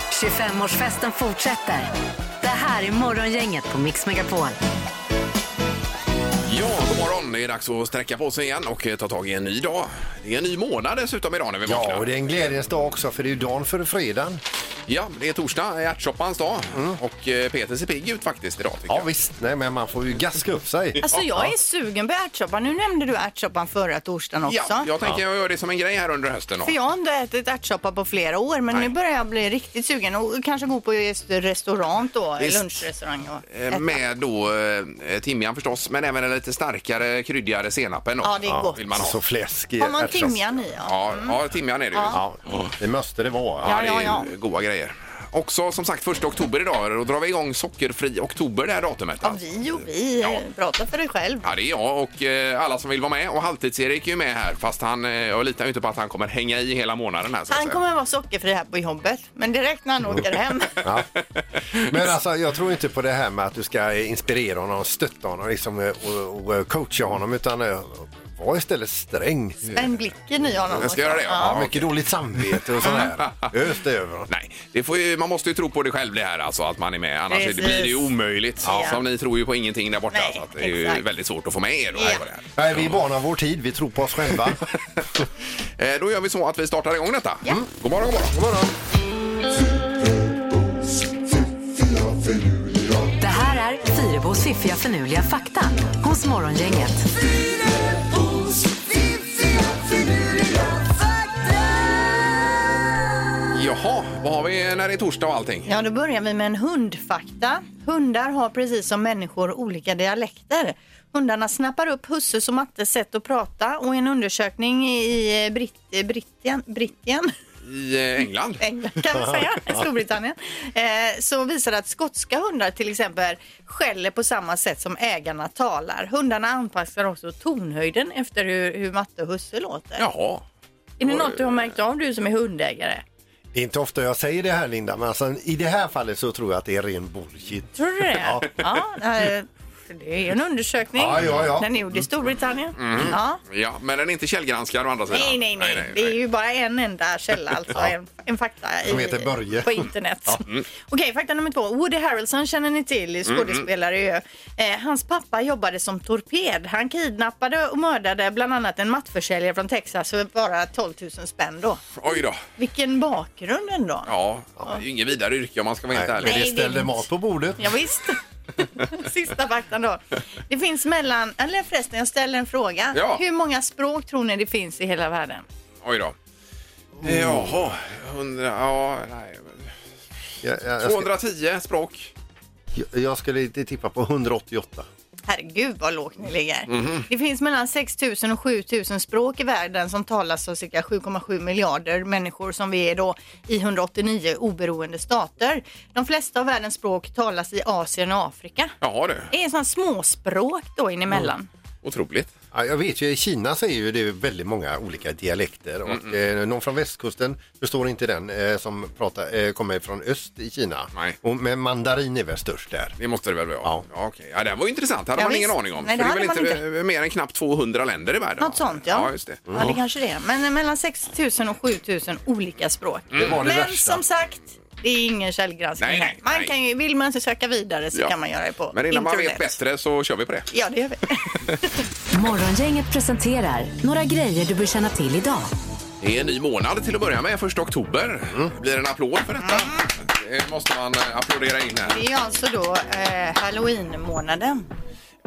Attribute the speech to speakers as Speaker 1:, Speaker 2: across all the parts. Speaker 1: 25-årsfesten fortsätter. Det här är Morgongänget på Mix Megapol.
Speaker 2: Ja, god morgon. Det är dags att sträcka på sig igen och eh, ta tag i en ny dag. Det är en ny månad dessutom idag när vi vaknar.
Speaker 3: Ja, och det är en glädjens dag också för det är ju dagen för fredagen.
Speaker 2: Ja, det är torsdag, ärtsoppans dag. Och eh, Peter ser pigg ut faktiskt idag tycker
Speaker 3: Mm. Ja
Speaker 2: jag.
Speaker 3: visst, nej men man får ju gaska upp sig.
Speaker 4: Alltså jag är sugen på ärtsoppa. Nu nämnde du ärtsoppan förra torsdagen också.
Speaker 2: Ja, jag tänker jag gör det som en grej här under hösten. Då.
Speaker 4: För jag har inte ätit ärtsoppa på flera år men
Speaker 2: Nej.
Speaker 4: nu börjar jag bli riktigt sugen och kanske gå på just restaurang då,
Speaker 2: Visst.
Speaker 4: lunchrestaurang och
Speaker 2: Eh,
Speaker 4: äta.
Speaker 2: Med då eh, timjan förstås, men även en lite starkare kryddigare senapen. Då.
Speaker 4: Ja, det är gott.
Speaker 2: Vill man ha.
Speaker 3: Så fläsk i
Speaker 4: Har man
Speaker 3: ärtsoppa.
Speaker 4: timjan i? Ja.
Speaker 2: Ja, ja, timjan är det ju.
Speaker 3: Ja, det måste det vara.
Speaker 2: Ja,
Speaker 4: Ja,
Speaker 2: det
Speaker 4: ja,
Speaker 2: är
Speaker 4: ja.
Speaker 2: ju goda grejer. Också som sagt första oktober idag, då drar vi igång sockerfri oktober det här datumet. alltså.
Speaker 4: Ja, vi och vi.
Speaker 2: Ja.
Speaker 4: Prata för dig själv.
Speaker 2: Ja, det är jag och eh, alla som vill vara med. Och Halvtids-Erik är ju med här, fast han, eh, jag litar ju inte på att han kommer hänga i hela månaden här. Så att
Speaker 4: Han
Speaker 2: säga.
Speaker 4: kommer vara sockerfri här på jobbet, men direkt när han åker hem.
Speaker 3: Ja. Men alltså, jag tror inte på det här med att du ska inspirera honom, stötta honom liksom, och, och coacha honom utan eh, var istället sträng.
Speaker 4: Men blicken i honom.
Speaker 2: Jag ska göra det, ja.
Speaker 3: Ja, mycket dåligt samvete och sådär. Ös det över honom.
Speaker 2: Nej, det får ju, man måste ju tro på det själv det här, alltså att man är med. Annars
Speaker 4: Precis.
Speaker 2: blir det ju omöjligt.
Speaker 4: Ja.
Speaker 2: Som ni tror ju på ingenting där borta.
Speaker 4: Nej,
Speaker 2: så att det är ju
Speaker 4: exakt.
Speaker 2: väldigt svårt att få med er. Då, här
Speaker 4: Ja.
Speaker 2: på det här.
Speaker 3: Nej, vi är barn av vår tid, vi tror på oss själva.
Speaker 2: Eh, Då gör vi så att vi startar igång detta.
Speaker 4: Ja.
Speaker 2: Mm. God morgon, god morgon.
Speaker 3: God morgon.
Speaker 1: Det här är Fyrebos fiffiga förnuliga fakta hos Morgongänget.
Speaker 2: Jaha, vad har vi eh, när det är torsdag och allting?
Speaker 4: Ja, då börjar vi med en hundfakta. Hundar har precis som människor olika dialekter. Hundarna snappar upp husses och mattes sätt att prata och en undersökning i eh, Brit eh, Brittien, Brittien
Speaker 2: I eh, England?
Speaker 4: England kan vi säga, Storbritannien, eh, så visar det att skotska hundar till exempel skäller på samma sätt som ägarna talar. Hundarna anpassar också tonhöjden efter hur, hur matte och husse låter.
Speaker 2: Jaha.
Speaker 4: Är det något du har märkt av du som är hundägare?
Speaker 3: Det är inte ofta jag säger det här Linda, men alltså, i det här fallet så tror jag att det är ren bullshit.
Speaker 4: Tror du det?
Speaker 3: Ja.
Speaker 4: Ja, eh, det är ju en undersökning.
Speaker 3: Ja, ja, Mm. ja.
Speaker 4: Den är gjord i Storbritannien. Ja.
Speaker 2: Ja, men den är inte källgranskad å andra sidan?
Speaker 4: Nej, nej, nej, Det är ju bara en enda källa, alltså. En, en fakta
Speaker 3: Som heter Börje. Mm.
Speaker 4: på internet. Okej, fakta nummer två. Woody Harrelson känner ni till, skådespelare ju.
Speaker 3: mm.
Speaker 4: Eh, hans pappa jobbade som torped. Han kidnappade och mördade bland annat en mattförsäljare från Texas för bara 12 000 spänn då.
Speaker 2: Oj då.
Speaker 4: Vilken bakgrund ändå.
Speaker 2: Ja, det är ju inget vidare yrke om man ska vara
Speaker 3: Nej,
Speaker 2: helt ärlig.
Speaker 3: men
Speaker 4: Nej,
Speaker 3: det
Speaker 4: det är
Speaker 3: ställde
Speaker 4: inte.
Speaker 3: mat på bordet.
Speaker 4: Ja, visst. Sista faktan då. Det finns mellan, eller förresten jag ställer en fråga.
Speaker 2: Ja.
Speaker 4: Hur många språk tror ni det finns i hela världen?
Speaker 2: Oj då.
Speaker 3: Mm.
Speaker 2: Eh, Jaha, 100, ja, nej.
Speaker 3: Jag, jag, jag, ska-
Speaker 2: 210 språk.
Speaker 3: jag, jag skulle inte tippa på 188.
Speaker 4: Herregud vad lågt ni ligger.
Speaker 2: Mhm.
Speaker 4: Det finns mellan 6 000 och 7 000 språk i världen som talas av cirka 7,7 miljarder människor som vi är då i 189 oberoende stater. De flesta av världens språk talas i Asien och Afrika.
Speaker 2: Jaha du,
Speaker 4: Det är sådana småspråk då inemellan.
Speaker 2: Mm. otroligt.
Speaker 3: Ja, jag vet ju, i Kina så är ju det väldigt många olika dialekter och eh, någon från västkusten förstår inte den eh, som pratar, eh, kommer från öst i Kina.
Speaker 2: Nej. Mm.
Speaker 3: Och med mandarin är väl störst där.
Speaker 2: Det måste det väl vara?
Speaker 3: Ja.
Speaker 2: ja okej. Ja, det var ju intressant. hade
Speaker 4: Ja,
Speaker 2: man ingen
Speaker 4: visst.
Speaker 2: aning om.
Speaker 4: Nej,
Speaker 2: För
Speaker 4: det
Speaker 2: är väl
Speaker 4: hade man
Speaker 2: eh, mer än knappt 200 länder i världen?
Speaker 4: Något
Speaker 2: va?
Speaker 4: sånt ja.
Speaker 2: Ja, just det. Mm.
Speaker 4: Ja, det kanske det är. Men mellan 6 000 och 7 000 olika språk.
Speaker 2: Mm.
Speaker 3: Det var det
Speaker 4: Men
Speaker 3: värsta.
Speaker 4: som sagt, det är ingen källgranskning
Speaker 2: Nej,
Speaker 4: här.
Speaker 2: nej,
Speaker 4: man
Speaker 2: nej.
Speaker 4: Kan ju, vill man inte söka vidare så
Speaker 2: Ja.
Speaker 4: kan man göra det på
Speaker 2: Men innan man
Speaker 4: internet.
Speaker 2: vet bättre så kör vi på det.
Speaker 4: Ja, det gör vi.
Speaker 1: Morgongänget presenterar några grejer du bör känna till idag.
Speaker 2: Det är en ny månad till att börja med, första oktober.
Speaker 3: Mm.
Speaker 2: Blir det en applåd för detta?
Speaker 4: Mm.
Speaker 2: Det måste man eh, applådera in här.
Speaker 4: Det är alltså då eh, halloween-månaden.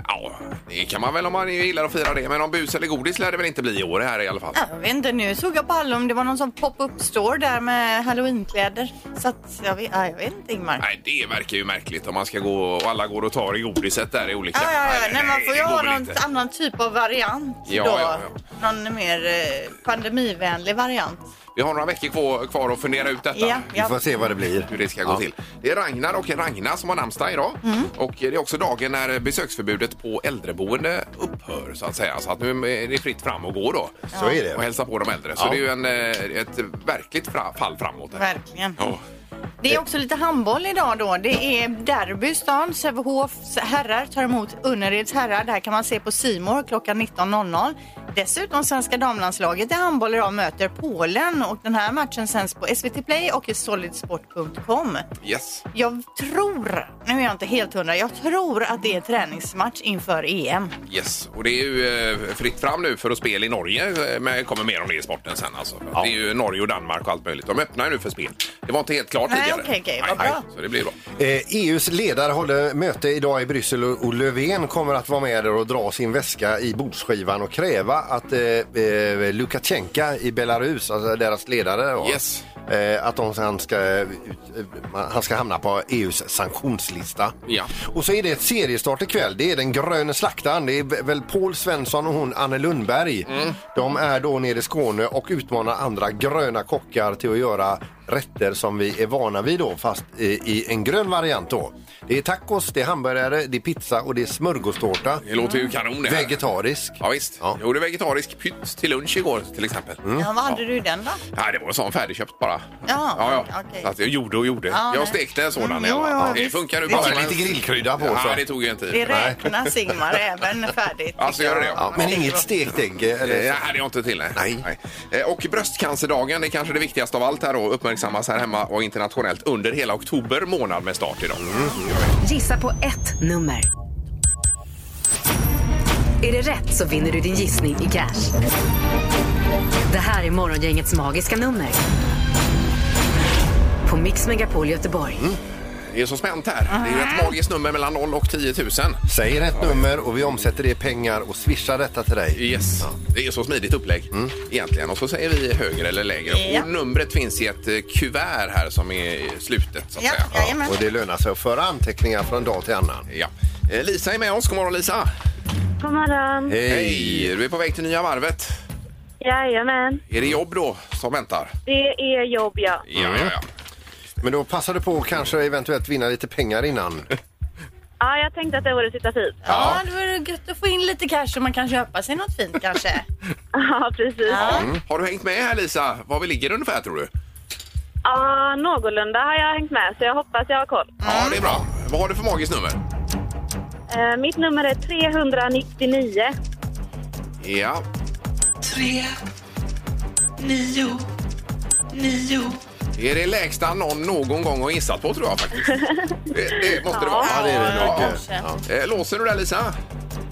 Speaker 2: Ja, det kan man väl om man gillar att fira det. Men om bus eller godis lär det väl inte bli i år här i alla fall.
Speaker 4: Ja, Jag vet inte, nu såg jag på alla om det var någon sån pop-up store där med halloweenkläder. Så att jag vet, ja, jag vet inte Ingmar.
Speaker 2: Nej, det verkar ju märkligt om man ska gå och alla går och tar i godiset där i olika...
Speaker 4: Ja, ja, ja. Nej, man får ju
Speaker 2: det går
Speaker 4: ha
Speaker 2: väl
Speaker 4: någon
Speaker 2: inte.
Speaker 4: annan typ av variant
Speaker 2: Ja,
Speaker 4: då.
Speaker 2: ja,
Speaker 4: Någon mer eh, pandemivänlig variant.
Speaker 2: Vi har några veckor kvar, kvar att fundera ut detta.
Speaker 4: Ja,
Speaker 3: Vi
Speaker 4: ja.
Speaker 3: får se vad det blir.
Speaker 2: hur det ska gå till. Det är Ragnar och Ragna som har namnsdag idag.
Speaker 4: Mm.
Speaker 2: Och det är också dagen när besöksförbudet på äldreboende upphör så att säga. Så att nu är det fritt fram och gå då.
Speaker 3: Så är det.
Speaker 2: Och hälsa på de äldre. Så
Speaker 3: Ja.
Speaker 2: det är ju en, eh, ett verkligt fra- fall framåt. här.
Speaker 4: Verkligen.
Speaker 2: Ja.
Speaker 4: Det är också lite handboll idag då. Det är derby i stan. Sävehofs herrar tar emot Unnereds herrar. Det här kan man se på Simor klockan 19.00. Dessutom svenska damlandslaget i handboll idag möter Polen och den här matchen sänds på SVT Play och i solidsport.com.
Speaker 2: Yes.
Speaker 4: Jag tror, nu är jag inte helt hundra, jag tror att det är träningsmatch inför E EM.
Speaker 2: Yes, och det är ju eh, fritt fram nu för att spela i Norge. eh, Men det kommer mer om det i sporten sen alltså. Det är ju Norge och Danmark och allt möjligt. De öppnar ju nu för spel. Det var inte helt klart
Speaker 4: Nej,
Speaker 2: tidigare.
Speaker 4: okej, okej,
Speaker 2: nej,
Speaker 4: vad bra.
Speaker 2: nej, så det blir bra.
Speaker 3: Eh, EUs ledare håller möte idag i Bryssel och och Löfven kommer att vara med där och dra sin väska i bordsskivan och kräva att eh, eh, Lukasjenko i Belarus, alltså deras ledare, då,
Speaker 2: Yes.
Speaker 3: eh, att de, han, ska, eh, ut- eh, han ska hamna på EUs sanktionslista.
Speaker 2: Ja.
Speaker 3: Och så är det ett seriestart ikväll. Det är den gröna slaktaren. Det är väl Paul Svensson och hon Anne Lundberg.
Speaker 2: Mm.
Speaker 3: De är då nere i Skåne och utmanar andra gröna kockar till att göra rätter som vi är vana vid då, fast i, i en grön variant då. Det är tacos, det är hamburgare, det är pizza och det är smörgåstårta.
Speaker 2: Det låter ju kanon det här.
Speaker 3: Vegetarisk.
Speaker 2: Ja, visst.
Speaker 3: Ja. Mm.
Speaker 2: Jag gjorde vegetarisk pytt till lunch igår till exempel.
Speaker 4: Ja, vad hade du i den då?
Speaker 2: Nej, det var en sån färdigköpt bara.
Speaker 4: Ja,
Speaker 2: ja,
Speaker 4: okej.
Speaker 2: Så att jag gjorde och gjorde.
Speaker 4: Ja,
Speaker 2: jag
Speaker 4: nej.
Speaker 2: stekte en sådan.
Speaker 4: Mm,
Speaker 2: i alla
Speaker 4: jo,
Speaker 2: fall.
Speaker 4: jo,
Speaker 2: det
Speaker 4: visst.
Speaker 2: funkar ju
Speaker 4: Det
Speaker 2: bara.
Speaker 3: Bara lite grillkrydda på.
Speaker 2: Ja,
Speaker 3: så.
Speaker 2: det tog ju en tid.
Speaker 4: Det
Speaker 2: Nej,
Speaker 4: räknas Ingmar även färdigt.
Speaker 2: Alltså, gör det, ja.
Speaker 3: Ja, men inget stekt ägg? eh, Eller?
Speaker 2: det hade Eh, jag inte till. Nej.
Speaker 3: Nej.
Speaker 2: Eh, Och bröstcancerdagen är kanske det viktigaste av allt här och uppmärksammas här hemma och internationellt under hela oktober månad med start idag.
Speaker 1: Gissa på ett nummer. Är det rätt så vinner du din gissning i cash. Det här är Morgongängets magiska nummer. På Mix Megapol Göteborg.
Speaker 2: Det är så spänt här. Det är ju ett magiskt nummer mellan 0 och 10 000.
Speaker 3: Säg rätt nummer och vi omsätter det i pengar och swishar detta till dig.
Speaker 2: Yes. Det är så smidigt upplägg
Speaker 3: Mm.
Speaker 2: egentligen. Och så säger vi högre eller lägre.
Speaker 4: Ja.
Speaker 2: Och numret finns i ett eh, kuvert här som är i slutet så att
Speaker 4: Ja,
Speaker 2: säga.
Speaker 4: jajamän.
Speaker 3: Och det lönar sig att föra anteckningar från dag till annan.
Speaker 2: Ja. Eh, Lisa är med oss. God morgon Lisa!
Speaker 5: God morgon.
Speaker 2: Hej! Du är på väg till Nya varvet.
Speaker 5: Jajamän.
Speaker 2: Är det jobb då som väntar?
Speaker 5: Det är jobb, ja.
Speaker 3: Mm.
Speaker 2: Ja, ja, ja.
Speaker 3: Men då passar du på att kanske eventuellt vinna lite pengar innan.
Speaker 5: Ja, jag tänkte att det vore sista tid.
Speaker 4: Ja, då är det gött att få in lite cash så man kan köpa sig något fint kanske.
Speaker 5: Ja, precis. Ja,
Speaker 2: Har du hängt med här Lisa? Var vi ligger ungefär tror du?
Speaker 5: någorlunda har jag hängt med, så jag hoppas jag har koll.
Speaker 3: Mm.
Speaker 2: Ja, det är bra. Vad har du för magiskt nummer?
Speaker 5: Eh, mitt nummer är 399.
Speaker 2: Ja,
Speaker 6: tre, nio, nio.
Speaker 2: är det lägsta någon någon gång har gissat på tror jag faktiskt. Det, det måste det vara.
Speaker 3: Ja, det är det nog.
Speaker 4: kanske.
Speaker 3: Ja.
Speaker 2: Eh, Låser du där Lisa?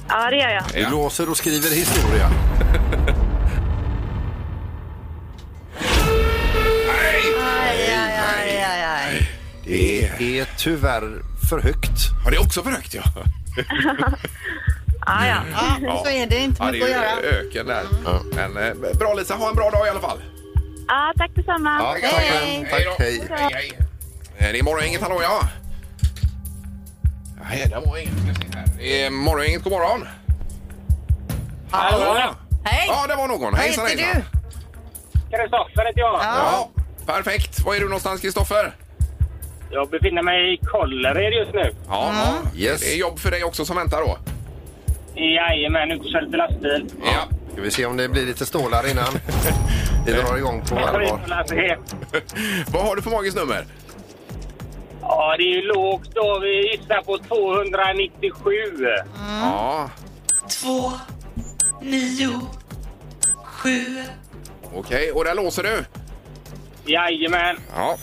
Speaker 5: Ja, det gör jag.
Speaker 3: Du låser och skriver historia.
Speaker 4: Aj, aj, aj, aj, aj.
Speaker 3: Det är tyvärr för högt.
Speaker 2: Ja, det är också för högt ja.
Speaker 5: Ja, ja.
Speaker 4: Ja, så är det inte
Speaker 2: Ja, det
Speaker 4: mycket
Speaker 2: är ju
Speaker 4: att göra.
Speaker 2: öken där.
Speaker 3: Mm.
Speaker 2: Men eh, bra Lisa, ha en bra dag i alla fall.
Speaker 5: ja tack detsamma.
Speaker 3: Ja, tack,
Speaker 4: Hej.
Speaker 3: tack,
Speaker 2: då.
Speaker 3: hej.
Speaker 2: hej, hej. Eh, Det är morgongänget, hallå ja. Nej, det var inget. Jag ska se här. Det är morgongänget, god morgon. Hallå ja.
Speaker 4: Hej!
Speaker 2: Ja, det var någon.
Speaker 4: Vad
Speaker 2: Hejsan,
Speaker 4: heter
Speaker 2: hejsan.
Speaker 4: du?
Speaker 7: Kristoffer heter jag.
Speaker 4: Ja.
Speaker 2: Ja, perfekt. Var är du någonstans Kristoffer?
Speaker 7: Jag befinner mig i Kållered just nu.
Speaker 2: Ja, ja.
Speaker 3: Yes.
Speaker 2: det är jobb för dig också som väntar då.
Speaker 7: Jajamän, ute och kör lite lastbil.
Speaker 2: Ja.
Speaker 3: Ska vi se om det blir lite stålar innan vi drar igång på allvar.
Speaker 2: Vad har du för magiskt nummer?
Speaker 7: Ja, det är ju lågt då. Vi gissar på 297.
Speaker 2: Ja,
Speaker 6: Två, nio, sju.
Speaker 2: okej. Och där låser du?
Speaker 7: Jajamän.
Speaker 2: Ja.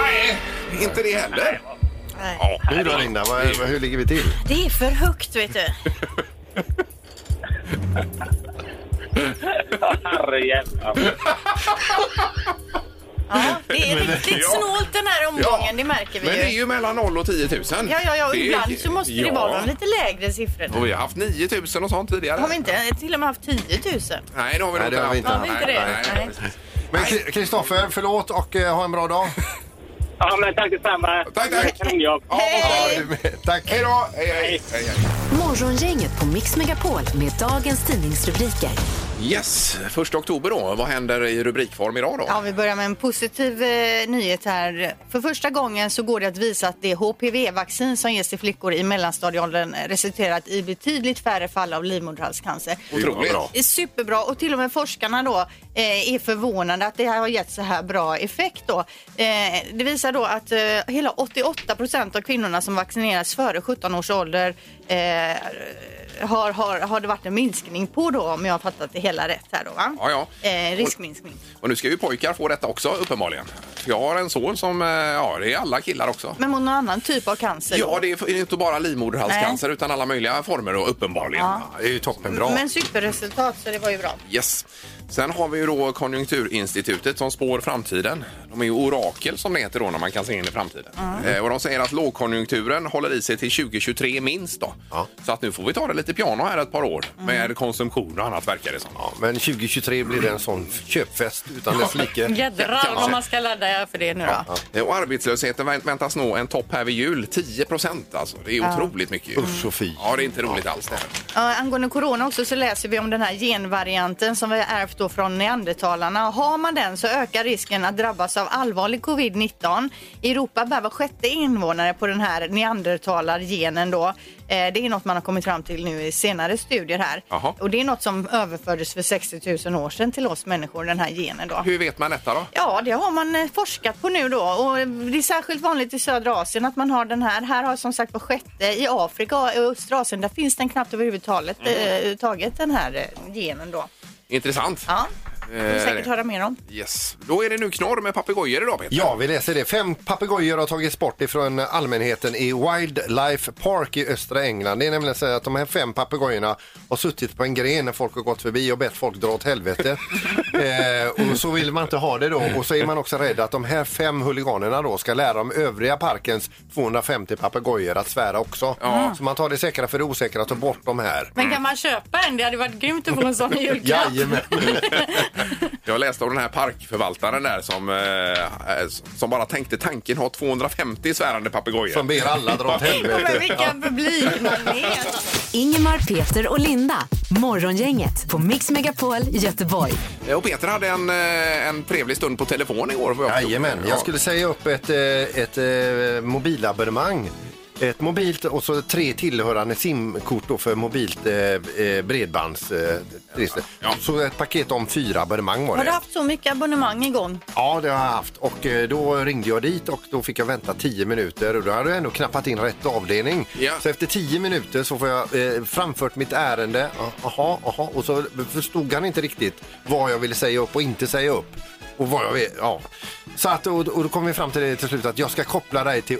Speaker 2: Nej, inte det heller. Ja,
Speaker 3: Nu då Linda, vad, vad- hur ligger vi till?
Speaker 4: Det är för högt, vet du.
Speaker 7: Herrejävlar.
Speaker 4: Ja, det är riktigt snålt den här omgången, det märker vi
Speaker 2: Men det är
Speaker 4: ju.
Speaker 2: ju mellan 0 och 10 000.
Speaker 4: Ja, ja, ja, och
Speaker 2: Det är-
Speaker 4: ibland så måste det
Speaker 2: ja.
Speaker 4: vara de lite lägre siffrorna.
Speaker 2: Och vi har haft 9 000 och sånt tidigare.
Speaker 4: Har vi inte till och med haft 10 000?
Speaker 2: Nej, det har vi
Speaker 3: Nej,
Speaker 2: nog
Speaker 3: det har vi inte
Speaker 4: haft. Har vi inte det?
Speaker 2: Nej,
Speaker 4: Nej.
Speaker 2: precis.
Speaker 3: Men Kri- Kristoffer, förlåt och eh, ha en bra dag.
Speaker 7: Ja, men tack detsamma.
Speaker 2: Tack, tack.
Speaker 7: Kanonjobb.
Speaker 2: Ja, vad bra.
Speaker 3: Tack.
Speaker 2: Hej då! Hej, hej.
Speaker 7: Hej.
Speaker 2: hej, hej.
Speaker 1: Morgongänget på Mix Megapol med dagens tidningsrubriker.
Speaker 2: Yes, första oktober då. Vad händer i rubrikform idag då?
Speaker 4: Ja, vi börjar med en positiv eh, nyhet här. För första gången så går det att visa att det HPV-vaccin som ges till flickor i mellanstadieåldern eh, resulterat i betydligt färre fall av livmoderhalscancer.
Speaker 2: Otroligt.
Speaker 4: Det är Superbra och till och med forskarna då eh, är förvånade att det här har gett så här bra effekt då. Eh, det visar då att eh, hela 88 procent av kvinnorna som vaccineras före 17 års ålder eh, har, har, har det varit en minskning på då om jag har fattat det hela rätt här då va?
Speaker 2: Ja, ja.
Speaker 4: Eh, riskminskning.
Speaker 2: Och nu ska ju pojkar få detta också uppenbarligen. För jag har en son som, eh, ja det är alla killar också.
Speaker 4: Men mot någon annan typ av cancer? då?
Speaker 2: Ja, det är inte bara livmoderhalscancer utan alla möjliga former då, uppenbarligen.
Speaker 4: Ja.
Speaker 2: Det är ju toppenbra.
Speaker 4: Men superresultat, så det var ju bra.
Speaker 2: Yes. Sen har vi ju då Konjunkturinstitutet som spår framtiden. De är ju orakel som det heter då när man kan se in i framtiden. Eh, och de säger att lågkonjunkturen håller i sig till 2023 minst då.
Speaker 3: Ja.
Speaker 2: Så att nu får vi ta det lite piano här ett par år med konsumtion och annat verkar det som.
Speaker 3: Ja, men 2023 blir det en sån köpfest utan dess like.
Speaker 8: Jädrar vad man ska ladda för det nu då.
Speaker 2: Eh, Och arbetslösheten vänt- väntas nå en topp här vid jul, 10 procent alltså. Det är otroligt mycket.
Speaker 3: Usch och fy.
Speaker 2: Ja, det är inte roligt alls det här.
Speaker 4: Ja, angående corona också så läser vi om den här genvarianten som vi har ärvt då från neandertalarna. Har man den så ökar risken att drabbas av allvarlig covid-19. I Europa bär var sjätte invånare på den här neandertalargenen då. Eh, Det är något man har kommit fram till nu i senare studier här.
Speaker 2: Jaha.
Speaker 4: Och det är något som överfördes för 60 000 år sedan till oss människor, den här genen då.
Speaker 2: Hur vet man detta då?
Speaker 4: Ja, det har man eh, forskat på nu då och eh, det är särskilt vanligt i södra Asien att man har den här. Här har som sagt på sjätte i Afrika och östra Asien, där finns den knappt överhuvudtaget
Speaker 3: Mm.
Speaker 4: eh, taget den här eh, genen då.
Speaker 2: Intressant.
Speaker 4: Ja, vi
Speaker 2: Eh,
Speaker 4: säkert höra mer om.
Speaker 2: Yes. Då är det nu knorr med papegojor idag Peter.
Speaker 3: Ja, vi läser det. Fem papegojor har tagits bort ifrån allmänheten i Wildlife Park i östra England. Det är nämligen så att de här fem papegojorna har suttit på en gren när folk har gått förbi och bett folk dra åt helvete. eh, och så vill man inte ha det då. Och så är man också rädd att de här fem huliganerna då ska lära de övriga parkens 250 papegojor att svära också. Så man tar det säkra för det osäkra och tar bort de här.
Speaker 8: Men kan man köpa en? Det hade varit grymt att få en sån i julklapp.
Speaker 3: Jajamän.
Speaker 2: Jag läste om den här parkförvaltaren där som, eh, eh, som bara tänkte tanken ha 250 svärande papegojor.
Speaker 3: Som ber alla dra åt helvete.
Speaker 4: Men vilken publik man är!
Speaker 1: Ingemar, Peter och Linda. Morgongänget på Mix Megapol Göteborg.
Speaker 2: Eh, Och Peter hade en, eh, en trevlig stund på telefon igår. vad jag förstod.
Speaker 3: Jajamän,
Speaker 2: Ja.
Speaker 3: jag skulle säga upp ett, eh, ett eh, mobilabonnemang. Ett mobilt och så tre tillhörande simkort då för mobilt eh, eh, bredbands... Eh, register.
Speaker 2: Ja.
Speaker 3: Så ett paket om fyra abonnemang var
Speaker 4: Har du
Speaker 3: det.
Speaker 4: haft så mycket abonnemang igång?
Speaker 3: Ja, det har jag haft. Och eh, då ringde jag dit och då fick jag vänta 10 minuter och då hade jag ändå knappat in rätt avdelning.
Speaker 2: Ja.
Speaker 3: Så efter 10 minuter så får jag eh, framfört mitt ärende. Aha, aha. Och så förstod han inte riktigt vad jag ville säga upp och inte säga upp. Och vad jag vill, ja. Så att, och, och då kom vi fram till det till slut att jag ska koppla dig till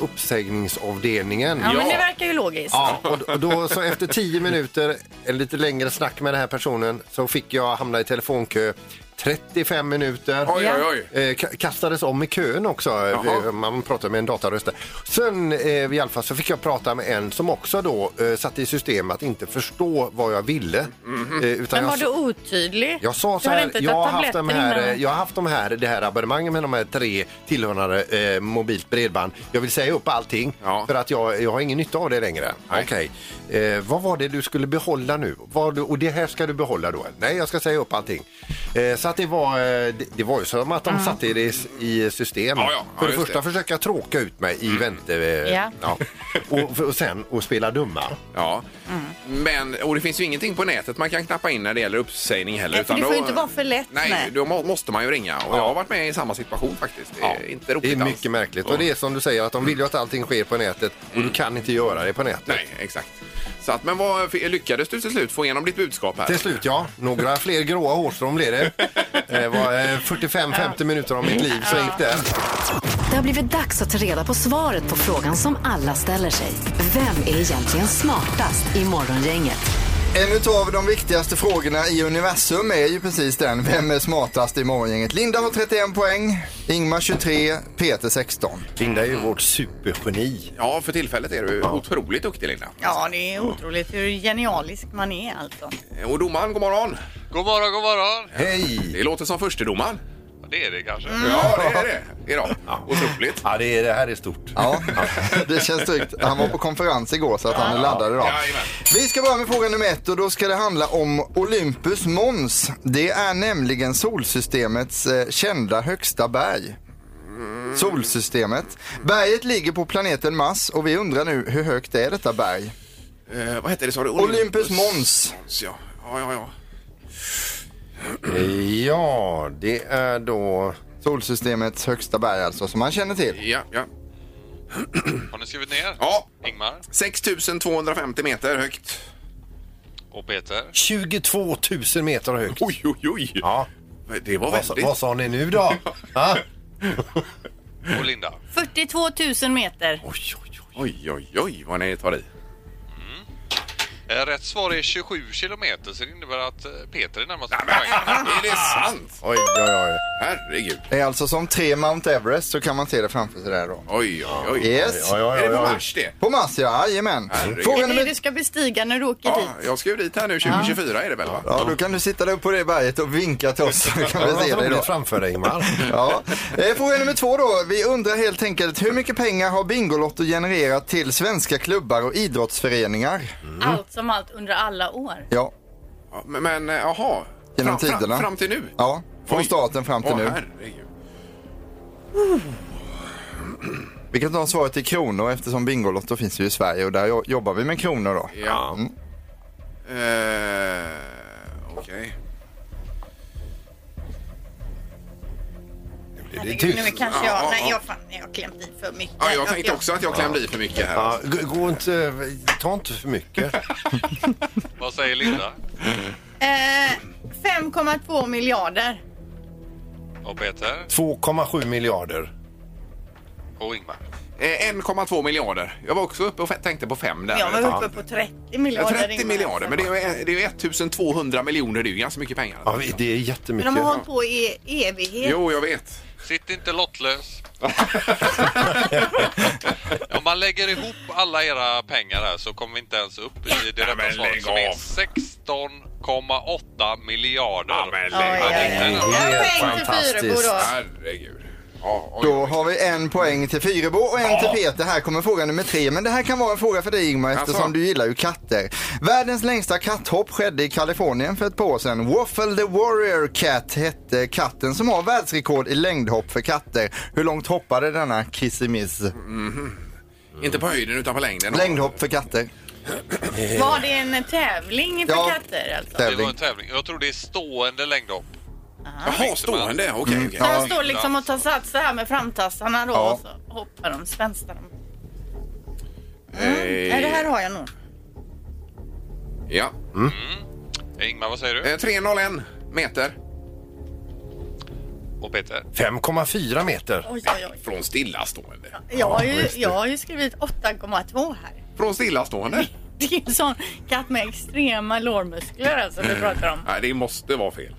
Speaker 3: uppsägningsavdelningen.
Speaker 8: Ja, men
Speaker 2: Ja.
Speaker 8: det verkar ju logiskt.
Speaker 3: Ja, och och då, så efter tio minuter, en lite längre snack med den här personen, så fick jag hamna i telefonkö 35 minuter.
Speaker 2: Oj, oj, oj.
Speaker 3: Eh, ka- kastades om i kön också.
Speaker 2: Jaha.
Speaker 3: Eh, Man pratade med en dataröst där. Sen eh, i alla fall så fick jag prata med en som också då eh, satte i system att inte förstå vad jag ville.
Speaker 2: Mm-hmm.
Speaker 3: Eh, utan
Speaker 8: Men var
Speaker 3: jag,
Speaker 8: du otydlig?
Speaker 3: jag sa
Speaker 8: Du
Speaker 3: så
Speaker 8: hade
Speaker 3: här,
Speaker 8: inte tagit
Speaker 3: jag har haft, de
Speaker 8: tabletter
Speaker 3: här, eh,
Speaker 8: innan.
Speaker 3: jag har haft de här, det här abonnemanget med de här tre tillhörande eh, mobilt bredband. Jag vill säga upp allting
Speaker 2: Ja.
Speaker 3: för att jag, jag har ingen nytta av det längre.
Speaker 2: Nej.
Speaker 3: Okej. Eh, vad var det du skulle behålla nu? Var du, och det här ska du behålla då? Nej, jag ska säga upp allting. Eh, så att det var, eh, det, det var ju som att de satte det i, i system.
Speaker 2: Ja, ja. Ja,
Speaker 3: för det
Speaker 2: just
Speaker 3: första
Speaker 2: det. Mm.
Speaker 3: försöka tråka ut mig i vänte... Eh,
Speaker 8: Ja.
Speaker 3: Och, och sen och spela dumma.
Speaker 2: Ja.
Speaker 4: Mm.
Speaker 2: Men, och det finns ju ingenting på nätet man kan knappa in när det gäller uppsägning heller.
Speaker 4: Nej, för det får ju inte vara för lätt,
Speaker 2: Nej,
Speaker 4: nej.
Speaker 2: då må- måste man ju ringa. Och jag har varit med i samma situation faktiskt. Det är inte roligt
Speaker 3: Det är
Speaker 2: alls.
Speaker 3: mycket märkligt. Och det är som du säger att de vill ju att allting sker på nätet och du kan inte göra det på nätet.
Speaker 2: Nej, exakt. Så att, men vad, lyckades du till slut få igenom ditt budskap här?
Speaker 3: Till slut ja, några fler gråa hårstrån blev det. Det var eh, 45-50 minuter av mitt liv så gick det.
Speaker 1: Det har blivit dags att ta reda på svaret på frågan som alla ställer sig. Vem är egentligen smartast i Morgongänget?
Speaker 9: En utav de viktigaste frågorna i universum är ju precis den, vem är smartast i morgongänget? Linda har 31 poäng, Ingmar 23, Peter 16.
Speaker 3: Linda är ju vårt supergeni.
Speaker 2: Ja, för tillfället är du otroligt duktig Linda.
Speaker 4: Ja, det är otroligt hur genialisk man är alltså.
Speaker 2: Och domaren, god morgon!
Speaker 10: God morgon, god morgon.
Speaker 3: Hej!
Speaker 2: Det låter som förstedomaren.
Speaker 10: Det är det kanske.
Speaker 2: Ja, det är det. Idag. Otroligt.
Speaker 3: Ja, det, är, det här är stort.
Speaker 9: Ja, det känns tryggt. Han var på konferens igår så att han är laddad idag.
Speaker 2: Jajamän.
Speaker 9: Vi ska börja med fråga nummer ett och då ska det handla om Olympus Mons. Det är nämligen solsystemets eh, kända högsta berg. Solsystemet. Berget ligger på planeten Mars och vi undrar nu hur högt är detta berg?
Speaker 2: Eh, vad heter det? Sa du?
Speaker 9: Olympus
Speaker 2: Mons,
Speaker 9: Mons.
Speaker 2: ja. Ja, ja, ja.
Speaker 3: Ja, det är då...
Speaker 9: Solsystemets högsta berg alltså, som man känner till.
Speaker 2: ja, ja.
Speaker 10: Har ni skrivit ner?
Speaker 2: ja.
Speaker 10: Ingmar
Speaker 2: 6250 meter högt.
Speaker 10: och Peter.
Speaker 3: 22 000 meter högt.
Speaker 2: Oj, oj, oj.
Speaker 3: Ja.
Speaker 2: Det var
Speaker 3: Vad, sa-
Speaker 2: väldigt.
Speaker 3: vad sa ni nu då? Ha?
Speaker 10: Och Linda.
Speaker 4: 42 000 meter.
Speaker 2: Oj, oj, oj, oj, oj, vad ni tar i.
Speaker 10: Eh, Rätt svar är 27 kilometer så det innebär att eh, Peter är närmast poängen.
Speaker 2: Är det sant?
Speaker 3: Oj, oj, oj.
Speaker 2: Herregud.
Speaker 9: Det är alltså som tre Mount Everest så kan man se det framför sig där då.
Speaker 2: Oj, oj, oj.
Speaker 9: Yes.
Speaker 3: Oj, oj,
Speaker 2: Är det
Speaker 3: oj,
Speaker 2: på
Speaker 3: oj.
Speaker 2: mars det?
Speaker 9: På Mars ja, jajamän.
Speaker 2: Herregud.
Speaker 9: Fråga
Speaker 8: Det är det
Speaker 9: nummer
Speaker 8: du ska bestiga när du åker
Speaker 2: Ja,
Speaker 8: dit.
Speaker 2: jag ska ju dit här nu 2024 är det väl? Va?
Speaker 9: Ja, då kan du sitta där uppe på det berget och vinka till oss. Då kan
Speaker 3: Det
Speaker 9: vi se
Speaker 3: var
Speaker 9: dig då.
Speaker 3: roligt framför dig, Ingmar.
Speaker 9: Ja. Eh, Fråga nummer två då. Vi undrar helt enkelt hur mycket pengar har Bingolotto genererat till svenska klubbar och idrottsföreningar?
Speaker 2: Mm.
Speaker 8: Allt som allt under alla år.
Speaker 9: Ja,
Speaker 2: Ja, men- Men eh, jaha.
Speaker 9: Genom
Speaker 2: Fram- fram-
Speaker 9: tiderna.
Speaker 2: Fram till nu?
Speaker 9: ja. från
Speaker 2: Oj.
Speaker 9: staten fram till
Speaker 2: Åh,
Speaker 9: nu.
Speaker 2: herregud.
Speaker 9: Vi kan ta svaret i kronor eftersom Bingolotto finns ju i Sverige och där jo- jobbar vi med kronor då. Mm.
Speaker 2: Ja. Eh, Okej.
Speaker 4: Herregud, nu kanske
Speaker 2: Ja,
Speaker 4: jag...
Speaker 2: ja,
Speaker 4: Nej,
Speaker 2: ja.
Speaker 4: jag, fan, jag klämde i för mycket.
Speaker 2: Ja, jag tänkte också att jag klämde i för mycket här.
Speaker 3: Ja, gå- gå inte, ta inte för mycket.
Speaker 10: Vad säger Linda?
Speaker 4: Eh, 5,2 miljarder.
Speaker 10: Och Peter?
Speaker 3: 2,7 miljarder.
Speaker 10: Och Ingmar?
Speaker 2: Eh, 1,2 miljarder. Jag var också uppe och f- tänkte på 5 där.
Speaker 4: Jag var uppe på 30 miljarder.
Speaker 2: 30
Speaker 4: Ingmar.
Speaker 2: miljarder, men det är ju- det är ju 1200 miljoner. Det är ju ganska mycket pengar.
Speaker 3: Ja, vi- det är
Speaker 4: Men
Speaker 3: jättemycket.
Speaker 4: de har hållit på i evighet.
Speaker 2: Jo, jag vet.
Speaker 10: Sitt inte lottlös. Om man lägger ihop alla era pengar här så kommer vi inte ens upp i det rätta
Speaker 2: men
Speaker 10: svaret
Speaker 2: lägg
Speaker 10: som är
Speaker 2: av.
Speaker 10: 16,8 miljarder.
Speaker 4: Oj,
Speaker 10: Ja, det
Speaker 4: oj,
Speaker 10: är
Speaker 4: oj.
Speaker 10: inte en-
Speaker 3: Det är
Speaker 4: Jag poäng till Fyrebo
Speaker 3: fantastiskt.
Speaker 4: då.
Speaker 2: Herregud. Ja, oj,
Speaker 9: Då har vi en poäng till Fyrebo och en till Peter. Här kommer fråga nummer tre. Men det här kan vara en fråga för dig Ingmar eftersom
Speaker 2: Jaså?
Speaker 9: du gillar ju katter. Världens längsta katthopp skedde i Kalifornien för ett par år sedan. Waffle the Warrior Cat hette katten som har världsrekord i längdhopp för katter. Hur långt hoppade denna kissemiss?
Speaker 2: Mm. Inte på höjden utan på längden.
Speaker 9: Längdhopp för katter.
Speaker 8: Var det en tävling för
Speaker 9: Ja.
Speaker 8: katter? Alltså?
Speaker 10: Det var
Speaker 9: Tävling.
Speaker 10: en tävling. Jag tror det är stående längdhopp.
Speaker 2: Jaha, stående.
Speaker 4: Mm.
Speaker 2: Okej. okej.
Speaker 9: ja.
Speaker 4: De står liksom och tar sats så här med framtassarna då
Speaker 9: Ja.
Speaker 4: och så hoppar de, spänstar de.
Speaker 2: Eh,
Speaker 4: Nej, Mm. det här har jag nog.
Speaker 2: Ja.
Speaker 10: Eh, Ingmar, vad säger du?
Speaker 2: Eh, 301 meter.
Speaker 10: Och Peter?
Speaker 3: 5,4 meter.
Speaker 8: Oj, oj, oj.
Speaker 2: Från stillastående.
Speaker 8: Jag har ju, jag har ju skrivit 8,2 här.
Speaker 2: Från stillastående?
Speaker 8: Det är en sån katt med extrema lårmuskler alltså
Speaker 2: Mm.
Speaker 8: vi pratar om.
Speaker 2: Nej, det måste vara fel.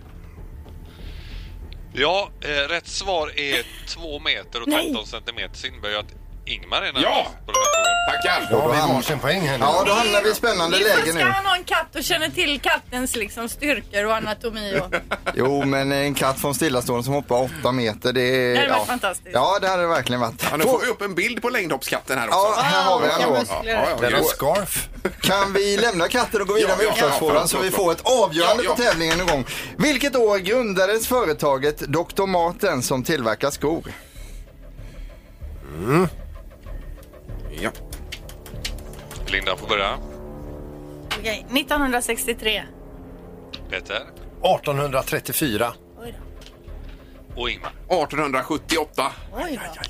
Speaker 10: Ja, eh, rätt svar är 2 meter och
Speaker 8: Nej.
Speaker 10: 13 centimeter. Så innebär ju att Ingmar är närmast
Speaker 2: Ja!
Speaker 10: på den här frågan.
Speaker 2: Tackar!
Speaker 3: Då har vi varsin poäng här nu.
Speaker 9: Ja, då hamnar vi i spännande
Speaker 8: Ifall
Speaker 9: läge
Speaker 8: ska
Speaker 9: nu.
Speaker 8: han ha en katt och känner till kattens liksom styrkor och anatomi och...
Speaker 9: Jo, men en katt från stillastående som hoppar 8 meter, det är...
Speaker 8: Det hade varit
Speaker 9: ja.
Speaker 8: fantastiskt.
Speaker 9: Ja, det hade det verkligen varit.
Speaker 2: Ja, nu får vi upp en bild på längdhoppskatten här också.
Speaker 9: Ja, här har vi den då.
Speaker 2: Ja, ja, ja,
Speaker 3: Den har
Speaker 2: just-
Speaker 3: scarf.
Speaker 9: Kan vi lämna katten och gå vidare
Speaker 2: Ja,
Speaker 9: med
Speaker 2: ja,
Speaker 9: utslagsfrågan
Speaker 2: ja,
Speaker 9: så
Speaker 2: förlåt,
Speaker 9: vi får
Speaker 2: förlåt.
Speaker 9: ett avgörande
Speaker 2: Ja,
Speaker 9: på
Speaker 2: ja.
Speaker 9: tävlingen någon gång? Vilket år grundades företaget Dr. Martens som tillverkar skor?
Speaker 2: ja.
Speaker 10: Linda får börja.
Speaker 4: Okej, 1963.
Speaker 10: Peter
Speaker 3: 1834.
Speaker 10: och Ingmar.
Speaker 2: 1878.
Speaker 4: Oj då.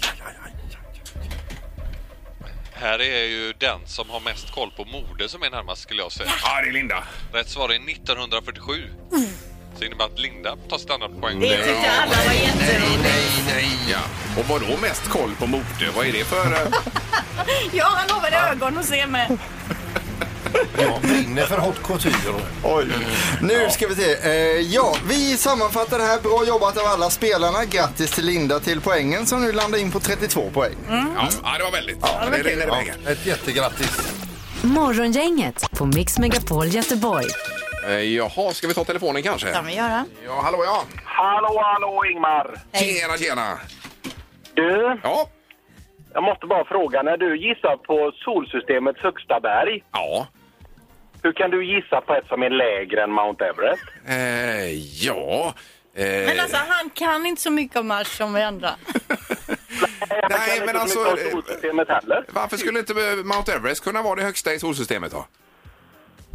Speaker 10: Här är ju den som har mest koll på mode som är närmast skulle jag säga.
Speaker 2: Ja, det är Linda.
Speaker 10: Rätt svar är 1947. Så innebär att Linda tar standardpoäng.
Speaker 4: Det tyckte alla var jätteroligt.
Speaker 2: Ja. Och vad då mest koll på mode? Vad är det för... eh,
Speaker 8: Ja, han lovade ögon och se med.
Speaker 3: Jag brinner för haute couture.
Speaker 9: Oj. Nu ska vi se. Eh, ja, vi sammanfattar det här. Bra jobbat av alla spelarna. Grattis till Linda till poängen som nu landar in på 32 poäng.
Speaker 2: Ja, ja, det var väldigt. Ja, det rinner iväg här.
Speaker 3: Ett jättegrattis.
Speaker 1: Morgongänget på Mix Megapol Göteborg.
Speaker 2: Eh, Jaha, ska vi ta telefonen kanske?
Speaker 4: kan vi göra.
Speaker 2: Ja, hallå ja.
Speaker 7: Hallå, hallå Ingmar!
Speaker 2: Tjena, tjena!
Speaker 7: Du?
Speaker 2: Ja?
Speaker 7: Jag måste bara fråga, när du gissar på solsystemets högsta berg.
Speaker 2: Ja.
Speaker 7: Hur kan du gissa på ett som är lägre än Mount Everest?
Speaker 2: Eh, ja... Eh,
Speaker 8: Men alltså han kan inte så mycket om Mars som vi andra.
Speaker 2: nej,
Speaker 7: liksom
Speaker 2: men alltså... eh,
Speaker 7: Systemet heller.
Speaker 2: Varför skulle inte eh, Mount Everest kunna vara det högsta i solsystemet då?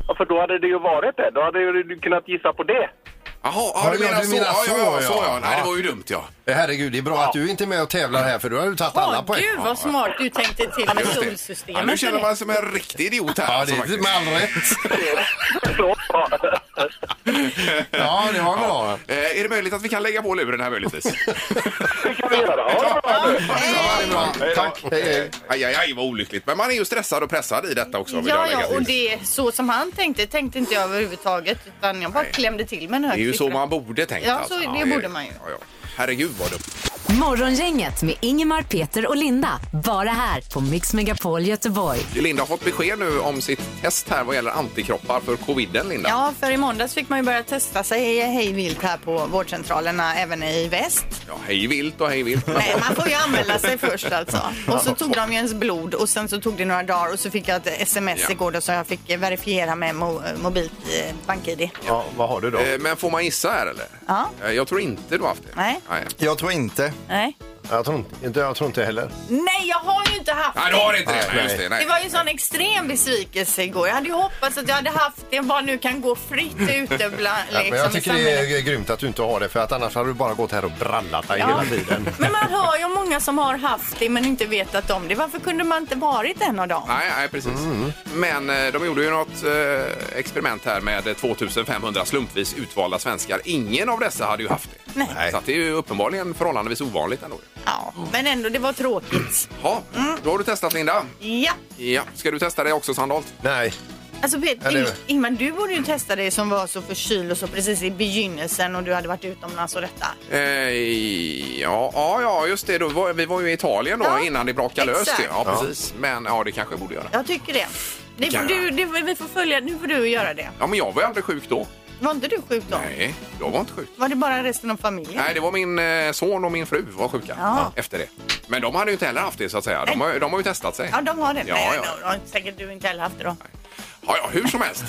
Speaker 7: Ja, För då hade det ju varit det. Då hade ju du kunnat gissa på det.
Speaker 2: Jaha,
Speaker 3: Ja, ja, du menar
Speaker 2: Ja, ja, ja,
Speaker 3: så,
Speaker 2: så
Speaker 3: ja.
Speaker 2: ja. Nej,
Speaker 3: Ja.
Speaker 2: det var ju dumt ja.
Speaker 3: Eh, Herregud, det är bra att du inte är med och tävlar här för du har ju tagit alla
Speaker 8: Åh
Speaker 3: poäng.
Speaker 8: gud vad smart du tänkte till med
Speaker 2: Just det. Ja, nu
Speaker 8: solsystemet.
Speaker 2: känner man sig som en riktig idiot här.
Speaker 3: Ja,
Speaker 2: alltså,
Speaker 3: det är
Speaker 2: faktiskt.
Speaker 3: med all rätt. Ja, det var bra.
Speaker 2: Eh, är det möjligt att vi kan lägga på luren här möjligtvis?
Speaker 7: Det kan vi göra. Ja, bra.
Speaker 3: Ja, det är bra. Tack. Hej, hej.
Speaker 2: Aj, aj, aj, vad olyckligt. Men man är ju stressad och pressad i detta också. vill jag
Speaker 4: Ja,
Speaker 2: lägga
Speaker 4: ja,
Speaker 2: till.
Speaker 4: och det är så som han tänkte tänkte inte jag överhuvudtaget utan jag bara klämde till med en hög
Speaker 2: Det är ju så
Speaker 4: siffra.
Speaker 2: man borde tänkt.
Speaker 4: Ja, så det
Speaker 2: är-
Speaker 4: borde man ju.
Speaker 2: Ja, ja. Herregud vad dumt.
Speaker 1: Morgongänget med Ingemar, Peter och Linda. Bara här på Mix Megapol Göteborg.
Speaker 2: Linda har fått besked nu om sitt test här vad gäller antikroppar för coviden, Linda.
Speaker 4: Ja, för i måndags fick man ju börja testa sig hej vilt här på vårdcentralerna, även i väst.
Speaker 2: Ja, hej vilt och hej vilt.
Speaker 4: Nej, man får ju anmäla sig först alltså. Och så tog de ju ens blod och sen så tog det några dagar och så fick jag ett sms
Speaker 2: Ja.
Speaker 4: igår då så jag fick eh, verifiera med mo- mobilt eh, bank-id.
Speaker 3: Ja, vad har du då?
Speaker 2: Eh, Men får man gissa här eller?
Speaker 4: Ja.
Speaker 2: Eh, Jag tror inte du har haft det.
Speaker 4: Nej.
Speaker 2: Nej,
Speaker 9: Jag tror inte.
Speaker 4: Nej.
Speaker 3: Jag tror inte, jag tror inte heller.
Speaker 8: Nej, jag har ju inte haft
Speaker 2: Nej, du har inte det.
Speaker 3: Nej.
Speaker 2: Nej, just det.
Speaker 4: Det
Speaker 2: Nej.
Speaker 4: var ju en sån extrem besvikelse igår. Jag hade ju hoppats att jag hade haft det bara nu kan gå fritt ute bland
Speaker 3: Ja,
Speaker 4: liksom,
Speaker 3: men jag
Speaker 4: i
Speaker 3: tycker det
Speaker 4: samhället.
Speaker 3: är grymt att du inte har det för att annars hade du bara gått här och brallat dig hela tiden.
Speaker 8: Men man hör ju om många som har haft det men inte vetat om det. Varför kunde man inte varit en av dem?
Speaker 2: Nej, nej, precis. Men eh, de gjorde ju något eh, experiment här med 2500 slumpvis utvalda svenskar. Ingen av dessa hade ju haft det.
Speaker 4: Nej.
Speaker 2: Så att det är ju uppenbarligen förhållandevis ovanligt ändå.
Speaker 4: Ja, men ändå, det var tråkigt.
Speaker 2: Ja,
Speaker 4: Mm.
Speaker 2: då har du testat Linda.
Speaker 4: Ja.
Speaker 2: Ja. Ska du testa det också Sandholt?
Speaker 3: Nej,
Speaker 4: Alltså
Speaker 3: Ja,
Speaker 4: Peter,
Speaker 3: det är
Speaker 4: Ing-
Speaker 3: det.
Speaker 4: Ingmar, du borde ju testa dig som var så förkyld och så precis i begynnelsen och du hade varit utomlands och detta.
Speaker 2: Eh, ja, ja, ja, just det. Då var, vi var ju i Italien då
Speaker 4: Ja,
Speaker 2: innan det brakade lös.
Speaker 4: exakt.
Speaker 2: ju. Ja, precis. Men ja, det kanske jag borde göra.
Speaker 4: Jag tycker det. det, får
Speaker 2: Ja.
Speaker 4: du, det vi får följa, nu får du göra det.
Speaker 2: Ja, men jag var ju aldrig sjuk då.
Speaker 4: Var inte du sjuk då?
Speaker 2: Nej, jag var inte sjuk.
Speaker 4: Var det bara resten av familjen?
Speaker 2: Nej, det var min eh, son och min fru var sjuka
Speaker 4: Ja.
Speaker 2: efter det. Men de hade ju inte heller haft det så att säga. De har, de har ju testat sig.
Speaker 4: Ja, de har det.
Speaker 2: Ja,
Speaker 4: Nej,
Speaker 2: ja.
Speaker 4: då har säkert du inte heller haft det då.
Speaker 2: Ja, ja, hur som helst.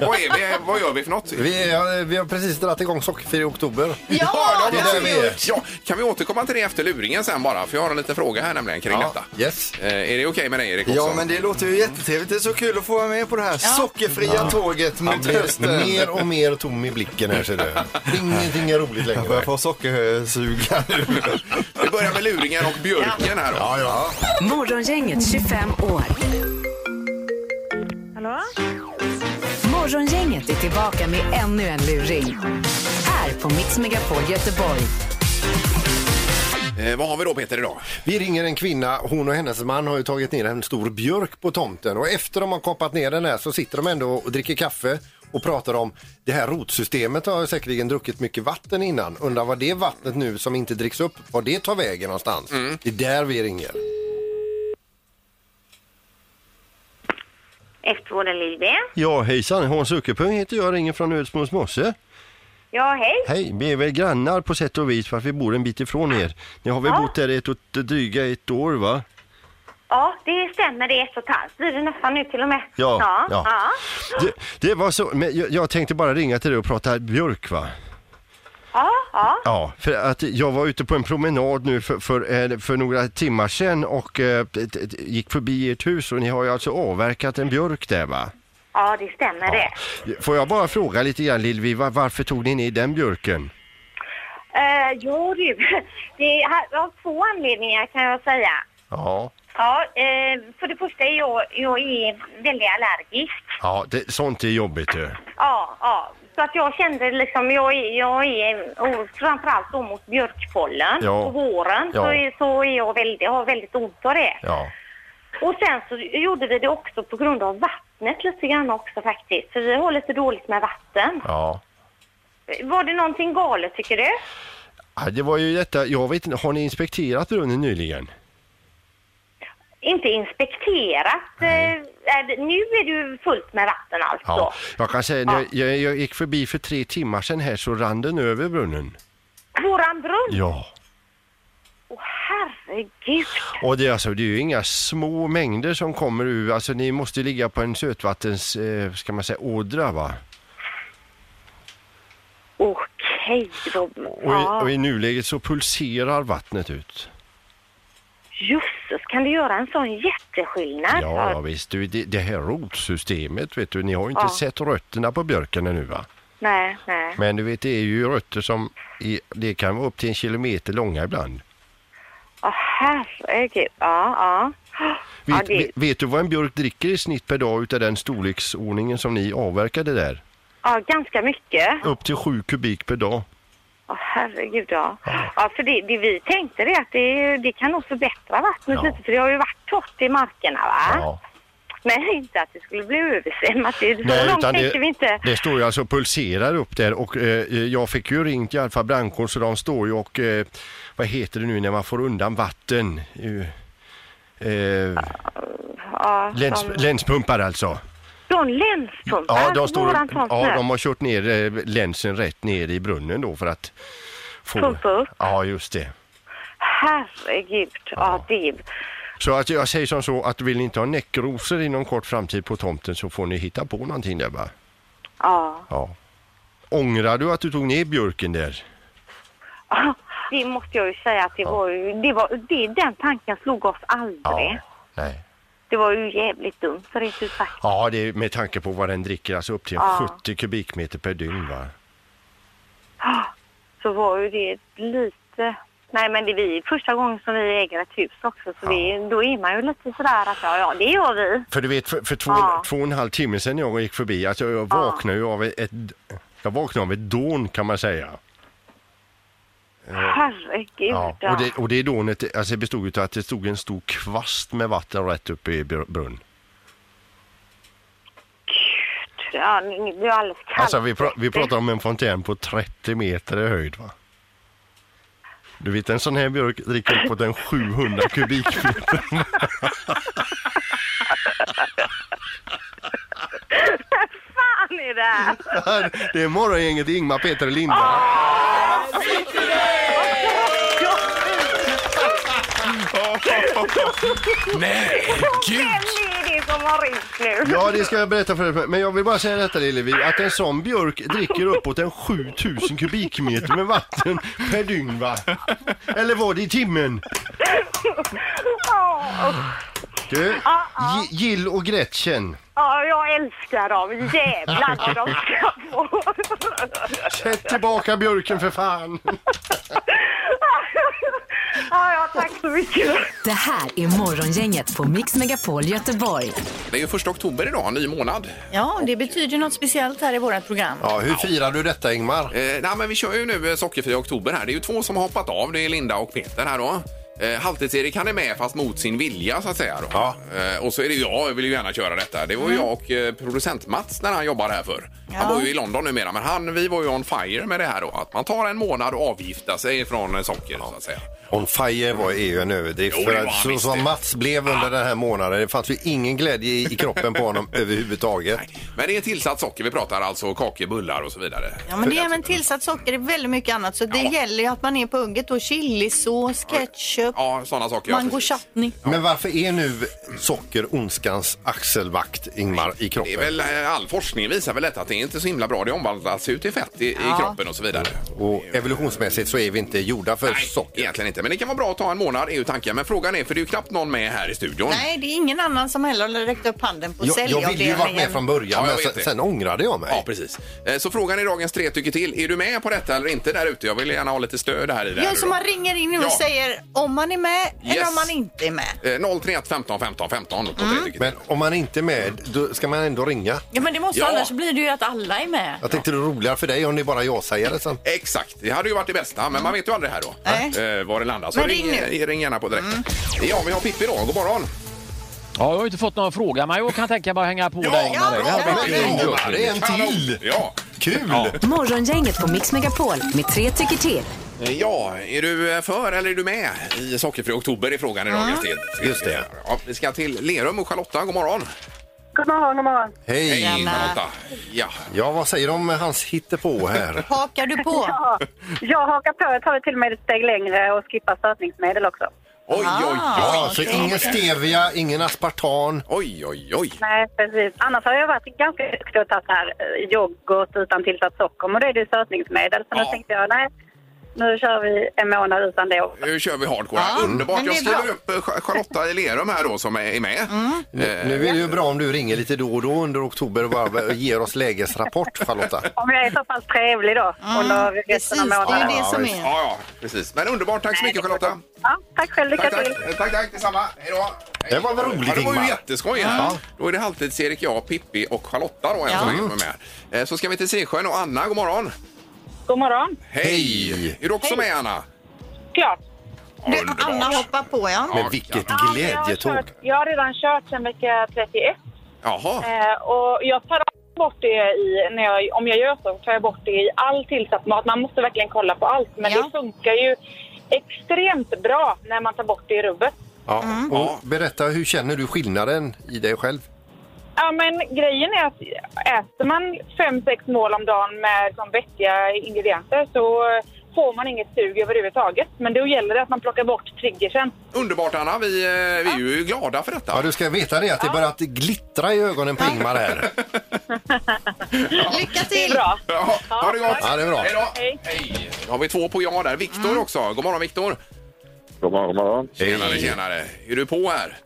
Speaker 2: vad, är vi, vad gör vi för något?
Speaker 3: vi, ja, vi har precis dragit igång sockerfri i oktober.
Speaker 2: Ja,
Speaker 3: det
Speaker 2: det
Speaker 3: har
Speaker 2: har
Speaker 4: alltså,
Speaker 3: vi
Speaker 2: vi
Speaker 3: gjort.
Speaker 2: gjort. ja, kan vi återkomma till det efter luringen sen bara? För jag har en liten fråga här nämligen kring detta.
Speaker 3: Yes.
Speaker 2: Eh, är det okej med dig Erik också?
Speaker 9: Ja, men det låter ju jättetrevligt. Det är så kul att få vara med på det här sockerfria tåget
Speaker 3: Han
Speaker 9: mot
Speaker 3: blir
Speaker 9: hösten.
Speaker 3: mer och mer tom i blicken här ser du. Ingenting är roligt
Speaker 9: Jag börjar
Speaker 3: längre.
Speaker 9: få sockersug här nu.
Speaker 2: Vi börjar med luringen och björken här då.
Speaker 3: Ja, ja.
Speaker 1: Morgongänget 25 år.
Speaker 5: Hallå?
Speaker 1: Morgongänget är tillbaka med ännu en luring. Här på Mix Megapol Göteborg.
Speaker 2: Eh, vad har vi då Peter idag?
Speaker 3: Vi ringer en kvinna. Hon och hennes man har ju tagit ner en stor björk på tomten och efter de har kapat ner den här så sitter de ändå och dricker kaffe och pratar om det här rotsystemet har säkerligen druckit mycket vatten innan. Undrar vad det vattnet nu som inte dricks upp, vad det tar vägen någonstans. Det är där vi ringer.
Speaker 5: Eftervården Lilby.
Speaker 11: Ja, hejsan. Hans Uckepung heter jag, ringer från Ödsmåls mosse.
Speaker 5: Ja, hej.
Speaker 11: Hej, vi är väl grannar på sätt och vis för att vi bor en bit ifrån er. Ni har väl bott där ett och dryga ett år va?
Speaker 5: Ja, det stämmer. Det är ett och ett halvt. Blir det nästan nu till och med.
Speaker 11: Ja, ja.
Speaker 5: ja. ja.
Speaker 11: Det, det var så, men jag, jag tänkte bara ringa till dig och prata björk va?
Speaker 5: ja, ja.
Speaker 11: Ja, för att jag var ute på en promenad nu för, för, eh, för några timmar sedan och eh, t- t- t- gick förbi ert hus och ni har ju alltså avverkat en björk där va?
Speaker 5: ja det stämmer det.
Speaker 11: Får jag bara fråga lite grann Lilvi, va- varför tog ni ner den björken?
Speaker 5: Uh, jo du, det är av två anledningar kan jag säga.
Speaker 11: Ja,
Speaker 5: Ja, eh, för det första är jag, jag är väldigt allergisk.
Speaker 11: ja det, sånt är jobbigt ju.
Speaker 5: Ja, ja. Så att jag kände liksom, jag är, jag är och framförallt då mot björkpollen
Speaker 11: Ja.
Speaker 5: på våren så,
Speaker 11: Ja.
Speaker 5: är, så är jag väldigt, har väldigt ont av det.
Speaker 11: Ja.
Speaker 5: Och sen så gjorde vi det också på grund av vattnet lite grann också faktiskt. För vi har lite dåligt med vatten.
Speaker 11: Ja.
Speaker 5: Var det någonting galet tycker du?
Speaker 11: Ja, det var ju detta, jag vet inte, har ni inspekterat brunnen nyligen?
Speaker 5: Inte inspekterat. Eh, är det- nu är det ju fullt med vatten alltså.
Speaker 11: Jag kan säga, när jag, jag gick förbi för tre timmar sedan här så rann den över brunnen.
Speaker 5: Sandbrunn?
Speaker 3: Ja.
Speaker 5: Åh, herregud.
Speaker 3: Och det, är alltså, det är ju inga små mängder som kommer ur, alltså ni måste ju ligga på en sötvattens, eh, ska man säga, ådra va?
Speaker 5: Okej, Robin.
Speaker 3: Och i,
Speaker 5: Ja.
Speaker 3: och i nuläget så pulserar vattnet ut.
Speaker 5: Jösses, kan det göra en sån jätteskillnad?
Speaker 3: Ja, ja visst, du, det, det här rotsystemet vet du, ni har ju inte
Speaker 5: Ja.
Speaker 3: sett rötterna på björken ännu va?
Speaker 5: Nej, nej.
Speaker 3: Men du vet, det är ju rötter som i, det kan vara upp till en kilometer långa ibland.
Speaker 5: Åh, herregud. Ja, ja. ja
Speaker 3: Vet,
Speaker 5: det,
Speaker 3: vet, vet du vad en björk dricker i snitt per dag utav den storleksordningen som ni avverkade där?
Speaker 5: ja, ganska mycket.
Speaker 3: Upp till sju kubik per dag.
Speaker 5: Åh, herregud, ja. ja för det, det vi tänkte det är att det, det kan nog förbättra vattnet
Speaker 3: Ja.
Speaker 5: lite, för det har ju varit torrt i markerna, va?
Speaker 3: Ja.
Speaker 5: Men inte att det skulle bli översvämmat. Det, så
Speaker 3: Nej,
Speaker 5: långt
Speaker 3: utan
Speaker 5: tänkte vi inte.
Speaker 3: det står ju alltså och pulserar upp där och eh, jag fick ju ringt i alla fall brandkår så de står ju och eh, vad heter det nu när man får undan vatten? Eh, eh,
Speaker 5: Ja,
Speaker 3: läns,
Speaker 5: de,
Speaker 3: länspumpar alltså.
Speaker 5: de länspumpar,
Speaker 3: Ja, de, står,
Speaker 5: våran sån
Speaker 3: ja,
Speaker 5: snö.
Speaker 3: de har kört ner eh, länsen rätt ner i brunnen då för att få...
Speaker 5: Pumpa upp.
Speaker 3: Ja, just det.
Speaker 5: Herregud, ja. det...
Speaker 3: Så att jag säger som så att vill ni inte ha näckrosor inom kort framtid på tomten så får ni hitta på någonting där bara.
Speaker 5: Ja.
Speaker 3: Ja. Ångrar du att du tog ner björken där?
Speaker 5: Det måste jag ju säga att det var ju... Det var, det, den tanken slog oss aldrig.
Speaker 3: Nej.
Speaker 5: Det var ju jävligt dumt, för rent ut sagt.
Speaker 3: Ja, det är med tanke på vad den dricker, alltså upp till
Speaker 5: Ja.
Speaker 3: 70 kubikmeter per dygn va?
Speaker 5: Ah, Så var ju det lite... Nej, men det är vi, första gången som vi äger ett hus också, så det, då är man ju lite sådär att ja, ja, det gör vi.
Speaker 3: För du vet, för, för två,
Speaker 5: Ja.
Speaker 3: två och en halv timme sedan jag gick förbi, alltså jag vaknade ju av ett, jag vaknade av ett dån kan man säga. Eh,
Speaker 5: Herregud.
Speaker 3: Ja, och det, och det dånet alltså det bestod utav att det stod en stor kvast med vatten rätt uppe i br- brunn.
Speaker 5: Ja, det blir alldeles kallt.
Speaker 3: Alltså vi, pra- vi pratar om en fontän på 30 meter i höjd va? Du vet en sån här björk dricker på den 700 kubikmeter.
Speaker 5: fan är det här?
Speaker 3: det är morgongänget Ingmar, Peter och Linda.
Speaker 2: Nej,
Speaker 5: Vem är det som har ringt nu?
Speaker 3: Ja, det ska jag berätta för dig. Men jag vill bara säga detta Lillevi, att en sån björk dricker uppåt en 7000 kubikmeter med vatten per dygn va? Eller var det i timmen?
Speaker 5: Åh,
Speaker 3: Du, Gi- Jill och Gretchen,
Speaker 5: Ja, jag älskar dem. Jävlar vad de ska få.
Speaker 3: sätt tillbaka björken för fan!
Speaker 5: Ja, ja, tack så mycket.
Speaker 1: Det här är Morgongänget på Mix Megapol Göteborg.
Speaker 2: Det är ju första oktober idag, en ny månad.
Speaker 4: Ja, det betyder något speciellt här i vårt program.
Speaker 12: Ja, hur firar du detta Ingmar?
Speaker 2: Eh, nej, men vi kör ju nu eh, sockerfria oktober här. Det är ju två som har hoppat av. Det är Linda och Peter här då. Eh, Halvtids-Erik han är med fast mot sin vilja så att säga. Då. Eh, och så är det jag, jag vill ju gärna köra detta. Det var ju jag och eh, producent Mats när han jobbade här förr. Han
Speaker 4: Mm. Ja.
Speaker 2: bor ju i London numera men han, vi var ju on fire med det här då. Att man tar en månad och avgiftar sig från eh, socker så att säga.
Speaker 12: On fire var ju en överdrift.
Speaker 2: Jo, det
Speaker 12: för
Speaker 2: var
Speaker 12: att,
Speaker 2: han
Speaker 12: så
Speaker 2: visst det.
Speaker 12: som Mats blev under den här månaden, det fanns ju ingen glädje i, i kroppen på honom överhuvudtaget.
Speaker 2: Men det är tillsatt socker vi pratar alltså kakor, bullar och så vidare.
Speaker 4: Ja, men det är även tillsatt socker i väldigt mycket annat så det gäller ju att man är på hugget då. Chilisås, ketchup,
Speaker 2: Ja, sådana saker. ja,
Speaker 4: mango
Speaker 2: precis.
Speaker 4: chutney.
Speaker 12: Men varför är nu socker ondskans axelvakt, Ingmar, i
Speaker 2: Det är
Speaker 12: kroppen?
Speaker 2: väl, eh, all forskning visar väl detta att det är inte så himla bra. Det omvandlas ut i fett i, i kroppen och så vidare.
Speaker 12: Och evolutionsmässigt så är vi inte gjorda för
Speaker 2: Nej,
Speaker 12: socker.
Speaker 2: egentligen inte. Men det kan vara bra att ta en månad är ju tanken. Men frågan är, för det är ju knappt någon med här i studion.
Speaker 4: Nej, det är ingen annan som heller har räckt upp handen på
Speaker 12: Jag, jag ville ju varit med från
Speaker 4: säljavdelningen.
Speaker 12: början,
Speaker 2: Ja, jag
Speaker 12: men
Speaker 2: vet
Speaker 12: sen,
Speaker 2: det.
Speaker 12: sen ångrade jag mig.
Speaker 2: Ja, precis. Eh, Så frågan i dagens tre tycker till. Är du med på detta eller inte där ute? Jag vill gärna ha lite stöd här i det här
Speaker 4: Ja,
Speaker 2: nu
Speaker 4: så
Speaker 2: då.
Speaker 4: man ringer in nu och
Speaker 2: Ja.
Speaker 4: säger om man är med eller
Speaker 2: Yes.
Speaker 4: om man inte är med.
Speaker 2: Eh, 031 15 15 15 på
Speaker 4: Mm.
Speaker 2: tre tycker till.
Speaker 12: Men om man inte är med, då ska man ändå ringa.
Speaker 4: Ja, men det måste
Speaker 2: Ja.
Speaker 4: annars blir det ju att alla är med.
Speaker 12: Jag tänkte det är roligare för dig om det är bara jag säger det sen.
Speaker 2: Exakt, det hade ju varit det bästa, men man vet ju aldrig här då
Speaker 4: Nej.
Speaker 2: eh, var det landar. Så
Speaker 4: Men
Speaker 2: ring,
Speaker 4: ring nu. Mm.
Speaker 2: eh, ring gärna på direkt. Ja, vi har Pippi då. God morgon!
Speaker 7: Ja, jag har inte fått någon fråga, men jag kan tänka mig att hänga på
Speaker 2: Ja,
Speaker 7: där. Ingmar.
Speaker 2: bra,
Speaker 7: Det här
Speaker 2: bra,
Speaker 7: var ju
Speaker 2: bra,
Speaker 7: en
Speaker 2: bra.
Speaker 7: gök.
Speaker 12: Det är en till!
Speaker 2: Ja.
Speaker 12: Kul!
Speaker 1: Morgongänget på Mix Megapol med tre tycker till.
Speaker 2: Eh, ja, är du eh, för eller är du med i Sockerfri Oktober i frågan i dagens tid?
Speaker 12: Just det.
Speaker 2: Ja, vi ska till Lerum och Charlotta. God morgon!
Speaker 5: God morgon, god morgon.
Speaker 3: Hej!
Speaker 4: Tjena. Charlotta.
Speaker 2: Ja.
Speaker 3: ja, vad säger de om hans hittepå här?
Speaker 4: Hakar du på?
Speaker 5: Ja, jag hakar på. Jag tar det till och med ett steg längre och skippar sötningsmedel också.
Speaker 2: Oj, oj, oj!
Speaker 5: Ah.
Speaker 3: Ja, så ingen stevia, ingen aspartan.
Speaker 2: Oj, oj, oj!
Speaker 5: Nej, precis. Annars har jag varit ganska duktig och tagit här eh, yoghurt utan tillsatt socker, men då är det ju sötningsmedel. Så nu tänkte jag, nej, nu kör vi en månad utan det också.
Speaker 2: Nu kör vi hardcore. här.
Speaker 5: Ja,
Speaker 2: Underbart.
Speaker 5: men det
Speaker 2: Jag
Speaker 5: är
Speaker 2: skriver
Speaker 5: bra. Mm.
Speaker 2: upp eh, Ch- Charlotta i Lerum här då som är med.
Speaker 3: Nu, nu är det ju bra om du ringer lite då och då under oktober och bara ger oss lägesrapport, Charlotta.
Speaker 5: Om jag är så pass trevlig då under resten av månaden.
Speaker 2: Eh, Ja, ja, precis. Men underbart. Tack så mycket Charlotta.
Speaker 5: Ja, tack själv. Lycka
Speaker 2: Tack,
Speaker 5: till.
Speaker 2: tack. Tack, tack. Detsamma. Hej då.
Speaker 3: Det var väl
Speaker 2: Ja,
Speaker 3: roligt,
Speaker 2: det var
Speaker 3: Ingmar?
Speaker 2: ju jätteskoj här. Då är det Halvtids-Erik, jag, Pippi och Charlotta då än så
Speaker 13: Ja.
Speaker 2: länge som är med. Eh, Så ska vi till Sisjön och Anna, god morgon.
Speaker 13: God morgon.
Speaker 2: Hej! Är du också
Speaker 13: Hej.
Speaker 2: med Anna?
Speaker 13: Klart.
Speaker 4: Du, Anna hoppar på, ja.
Speaker 3: Men vilket
Speaker 13: Jag har,
Speaker 3: glädjetåg!
Speaker 13: kört, jag har redan kört sedan vecka 31.
Speaker 2: Jaha.
Speaker 13: Eh, och jag tar bort det i, när jag, om jag gör så, tar jag bort det i all tillsatt mat. Man måste verkligen kolla på allt. Men det funkar ju extremt bra när man tar bort det i rubbet.
Speaker 3: Ja. Och berätta, hur känner du skillnaden i dig själv?
Speaker 13: Ja, men grejen är att äter man fem sex mål om dagen med som vettiga ingredienser så får man inget sug överhuvudtaget. Men då gäller det att man plockar bort triggersen.
Speaker 2: Underbart Anna, vi, eh, vi är ju glada för detta.
Speaker 3: Ja, du ska veta det att det börjar att glittra i ögonen på Ingmar här.
Speaker 4: Lycka till!
Speaker 2: Ja, ha det gott!
Speaker 3: Ja, det är bra.
Speaker 2: Hej då! Då har vi två på ja där. Viktor också. God morgon Viktor!
Speaker 14: God morgon, god morgon.
Speaker 2: Tjenare, tjenare. Är du på här?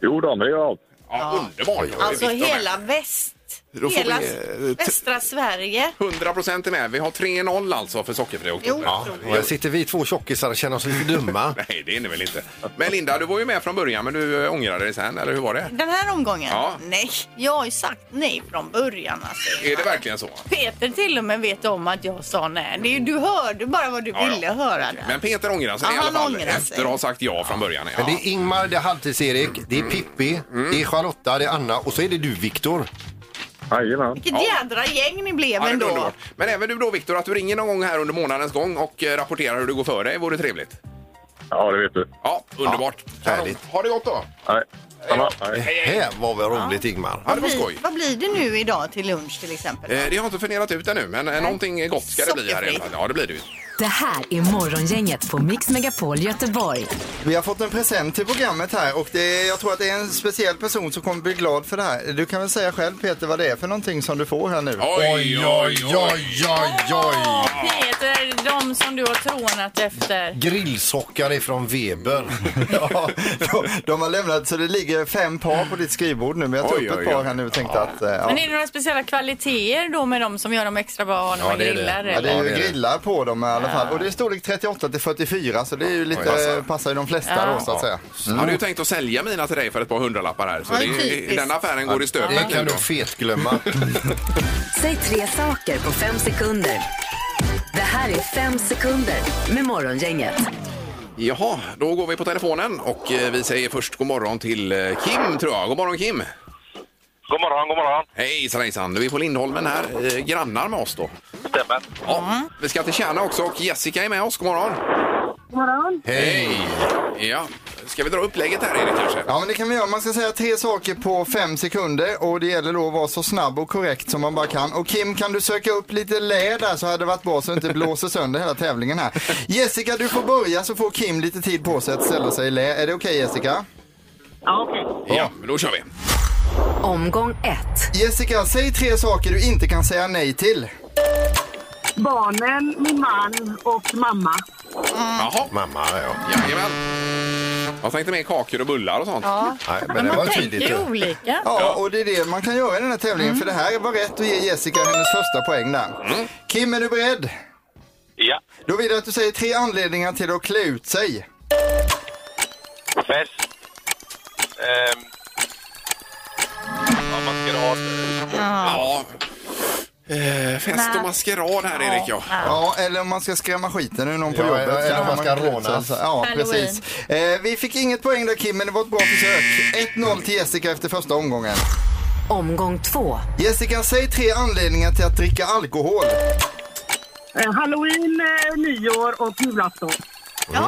Speaker 14: Jo då, det är jag.
Speaker 2: Ja, underbart. Då är
Speaker 4: Alltså
Speaker 2: Viktor med.
Speaker 4: hela väst...
Speaker 2: Då får
Speaker 4: Hela
Speaker 2: vi, eh, t-
Speaker 4: västra Sverige.
Speaker 2: 100 procent är med. Vi har 3-0 alltså för sockerfri oktober.
Speaker 3: Ja, och här sitter vi två tjockisar och känner oss lite dumma.
Speaker 2: Nej, det är ni väl inte. Men Linda, du var ju med från början men du eh, ångrade dig sen, eller hur var det?
Speaker 4: Den här omgången?
Speaker 2: Ja.
Speaker 4: Nej, jag har ju sagt nej från början. Alltså.
Speaker 2: Är det verkligen så?
Speaker 4: Peter till och med vet om att jag sa nej. Det är, ju- du hörde bara vad du
Speaker 2: Ja, ja.
Speaker 4: ville höra. Där.
Speaker 2: Men Peter ångrar sig
Speaker 4: Ja,
Speaker 2: i alla
Speaker 4: han
Speaker 2: fall
Speaker 4: ångrar sig.
Speaker 2: efter att ha sagt ja från början.
Speaker 3: Men
Speaker 2: Ja.
Speaker 3: det är Ingmar, det är Halvtids-Erik, det är Pippi, det är Charlotta, det är Anna och så är det du, Viktor.
Speaker 14: Jajamän.
Speaker 4: Vilket jädra gäng ni blev
Speaker 2: Ja, det är
Speaker 4: ändå.
Speaker 2: underbart. Men även du då Viktor, att du ringer någon gång här under månadens gång och eh, rapporterar hur det går för dig vore trevligt.
Speaker 14: Ja, det vet du.
Speaker 2: Ja, underbart.
Speaker 3: Härligt.
Speaker 2: Ha det gott då!
Speaker 14: Nej. Samma.
Speaker 3: Det
Speaker 14: Nej.
Speaker 3: här var väl roligt, Ingmar?
Speaker 2: Ja, det var skoj.
Speaker 4: Vad blir det nu idag till lunch till exempel?
Speaker 2: Eh, Det har jag inte funderat ut ännu, men eh, någonting gott ska det bli här i alla fall. Ja, det blir det ju.
Speaker 1: Det här är Morgongänget på Mix Megapol Göteborg.
Speaker 9: Vi har fått en present till programmet här och det, är- jag tror att det är en speciell person som kommer bli glad för det här. Du kan väl säga själv Peter vad det är för någonting som du får här nu?
Speaker 2: Oj, oj,
Speaker 3: oj, oj, oj!
Speaker 8: Peter, de som du har trånat efter.
Speaker 3: Grillsockar ifrån Weber.
Speaker 9: ja, de, de har lämnat så det ligger fem par på ditt skrivbord nu men jag tog
Speaker 3: Oj,
Speaker 9: upp
Speaker 3: oj,
Speaker 9: ett par
Speaker 3: oj.
Speaker 9: här nu och tänkte att... eh, Ja.
Speaker 8: Men är det några speciella kvaliteter då med dem som gör dem extra bra när man grillar?
Speaker 9: Ja, det är
Speaker 8: eller?
Speaker 9: ju grillar på dem i alla fall. Och det är storlek 38 till 44 så det är ju lite,
Speaker 2: passar.
Speaker 9: passar ju de flesta
Speaker 2: Ja.
Speaker 9: då så att säga.
Speaker 2: Jag hade ju tänkt att sälja mina till dig för ett par hundralappar här. Så
Speaker 9: Ja,
Speaker 2: det,
Speaker 9: typiskt.
Speaker 2: den affären går i stöpet.
Speaker 3: Det kan du fetglömma.
Speaker 1: Säg tre saker på fem sekunder. Det här är fem sekunder med Morgongänget.
Speaker 2: Jaha, då går vi på telefonen och eh, vi säger först god morgon till eh, Kim tror jag. God morgon Kim!
Speaker 7: God morgon, god morgon.
Speaker 2: Hejsan hejsan, du är på Lindholmen här, eh, grannar med oss då.
Speaker 7: Stämmer.
Speaker 2: Ja, vi ska till Kärna också och Jessica är med oss, god morgon.
Speaker 5: God morgon.
Speaker 2: Hej! Ja, ska vi dra upplägget här Erik kanske?
Speaker 9: Ja men det kan vi göra. Man ska säga tre saker på fem sekunder och det gäller då att vara så snabb och korrekt som man bara kan. Och Kim kan du söka upp lite lä där så hade det varit bra så det inte blåser sönder hela tävlingen här. Jessica du får börja så får Kim lite tid på sig att ställa sig i lä. Är det okej Jessica?
Speaker 5: Ja, okej.
Speaker 2: Ja, men då kör vi.
Speaker 1: Omgång ett.
Speaker 9: Jessica, säg tre saker du inte kan säga nej till.
Speaker 5: Barnen, min man och mamma.
Speaker 2: Jaha.
Speaker 3: Mamma, ja.
Speaker 2: Jajamän. Jag tänkte mer kakor och bullar och sånt.
Speaker 9: Ja. Nej, men Men det man var tänker tydligt, ju.
Speaker 8: olika.
Speaker 9: Ja, och det är det man kan göra i den här tävlingen för det här var rätt att ge Jessica hennes första poäng där. Kim, är du beredd?
Speaker 7: Ja.
Speaker 9: Då vill jag att du säger tre anledningar till att klä ut sig.
Speaker 7: Fest. Ehm. Ja, maskerad.
Speaker 2: Ja. Eh, fest och maskerad här Erik ja.
Speaker 9: Ja, eller om man ska skrämma skiten ur någon på
Speaker 3: Ja,
Speaker 9: jobbet.
Speaker 3: eller
Speaker 9: Så
Speaker 3: om man
Speaker 9: har
Speaker 3: ska
Speaker 9: klätt sig
Speaker 3: rånas.
Speaker 9: så- Ja,
Speaker 3: Halloween.
Speaker 9: precis. Eh, vi fick inget poäng där Kim, men det var ett bra försök. 1-0 till Jessica efter första omgången.
Speaker 1: Omgång två.
Speaker 9: Jessica, säg tre anledningar till att dricka alkohol.
Speaker 5: Eh, Halloween, nyår och julafton.
Speaker 9: Mm.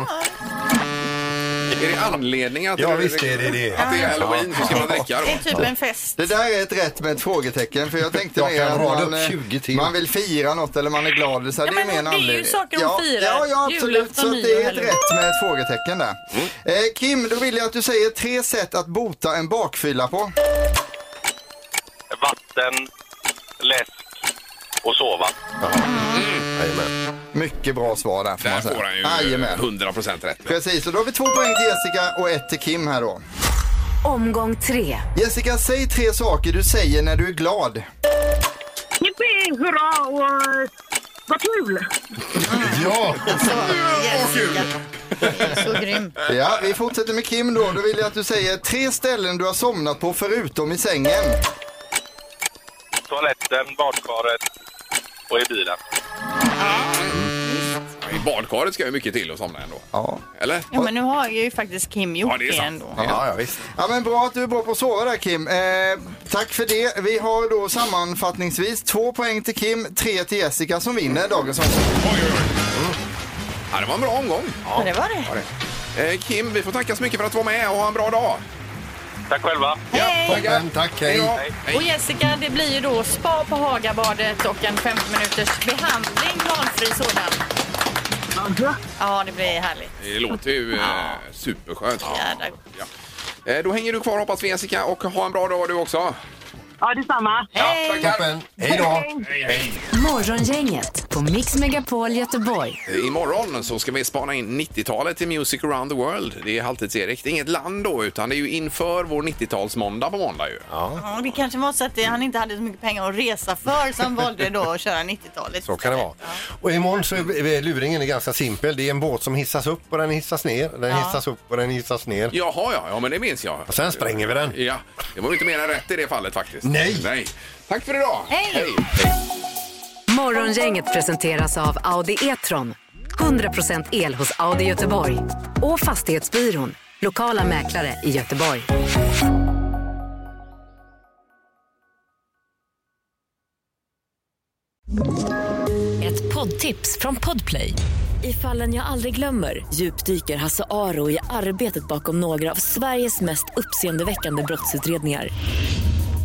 Speaker 2: Är det anledningen att
Speaker 9: Ja, visst är det det.
Speaker 2: Att det är halloween så ska man dricka då?
Speaker 4: Det är typ en fest.
Speaker 9: Det där är ett rätt med ett frågetecken för jag tänkte
Speaker 3: Jag
Speaker 9: mer
Speaker 3: kan
Speaker 9: att
Speaker 3: rada upp
Speaker 9: man, eh,
Speaker 3: 20 till.
Speaker 9: man vill fira något eller man är glad. Så här,
Speaker 3: Ja,
Speaker 9: det är
Speaker 3: men
Speaker 9: mer en
Speaker 3: det är ju
Speaker 9: anledning.
Speaker 3: saker de
Speaker 9: ja,
Speaker 3: firar.
Speaker 9: Ja, ja absolut.
Speaker 3: Julafton,
Speaker 9: Så att det
Speaker 3: nyår,
Speaker 9: är ett
Speaker 3: helg.
Speaker 9: rätt med ett frågetecken där.
Speaker 3: Mm.
Speaker 9: Eh, Kim, då vill jag att du säger tre sätt att bota en bakfylla på.
Speaker 7: Vatten, läsk och sova.
Speaker 9: Mycket bra svar där får
Speaker 2: Där
Speaker 9: man säga.
Speaker 2: får han ju
Speaker 3: eh,
Speaker 9: Jajamän.
Speaker 2: 100% rätt.
Speaker 9: Precis, och då har vi två poäng till Jessica och ett till Kim här då.
Speaker 1: Omgång tre.
Speaker 9: Jessica, säg tre saker du säger när du är glad.
Speaker 6: Jippi, hurra och eh, vad kul!
Speaker 9: Ja!
Speaker 4: Jessica. Så grym.
Speaker 9: Ja, vi fortsätter med Kim då. Då vill jag att du säger tre ställen du har somnat på förutom i sängen.
Speaker 7: Toaletten, badkaret och i bilen.
Speaker 2: I badkaret ska ju mycket till att somna ändå.
Speaker 9: Ja.
Speaker 2: Eller?
Speaker 4: Ja, men nu har ju faktiskt Kim gjort det, ändå.
Speaker 9: Ja, ja, visst. Ja, men bra att du är bra på att sova där Kim. Eh, tack för det. Vi har då sammanfattningsvis två poäng till Kim, tre till Jessica som vinner dagens omgång.
Speaker 2: Ja, det var en bra omgång. Ja,
Speaker 4: det var det.
Speaker 2: Eh, Kim, vi får tacka så mycket för att du var med och ha en bra dag. Tack själva.
Speaker 4: Hej!
Speaker 2: Toppen,
Speaker 3: tack.
Speaker 2: Hej då.
Speaker 4: Och Jessica, det blir ju då spa på Hagabadet och en 50 minuters behandling, valfri sådan. Ja, det blir härligt.
Speaker 2: Det låter ju eh, superskönt.
Speaker 4: Jädra gott.
Speaker 2: Eh, då hänger du kvar hoppas vi Jessica och ha en bra dag du också.
Speaker 6: Ja, detsamma.
Speaker 2: Hej! Ja, tackar.
Speaker 3: Hej då.
Speaker 2: Hej, hej.
Speaker 1: Morgongänget på Mix Megapol Göteborg.
Speaker 2: Eh, Imorgon så ska vi spana in 90-talet i Music around the world. Det är Halvtids-Erik. Det är inget land då, utan det är ju inför vår 90-talsmåndag på måndag ju.
Speaker 4: Ja, det kanske var så att det- han inte hade så mycket pengar att resa för så han valde då att köra 90-talet.
Speaker 3: Så kan det vara. Och imorgon så är är luringen är ganska simpel. Det är en båt som hissas upp och den hissas ner. Den
Speaker 2: Ja.
Speaker 3: hissas upp och den hissas ner.
Speaker 2: Jaha, ja, ja, men det minns jag.
Speaker 3: Och sen spränger vi den.
Speaker 2: Ja, det var ju inte mer än rätt i det fallet faktiskt.
Speaker 3: Nej.
Speaker 2: Nej. Tack för idag!
Speaker 1: Hej. Morgongänget presenteras av Audi E-tron. 100% el hos Audi Göteborg. Och Fastighetsbyrån. Lokala mäklare i Göteborg.
Speaker 15: Ett poddtips från Podplay. I fallen jag aldrig glömmer djupdyker Hasse Aro i arbetet bakom några av Sveriges mest uppseendeväckande brottsutredningar.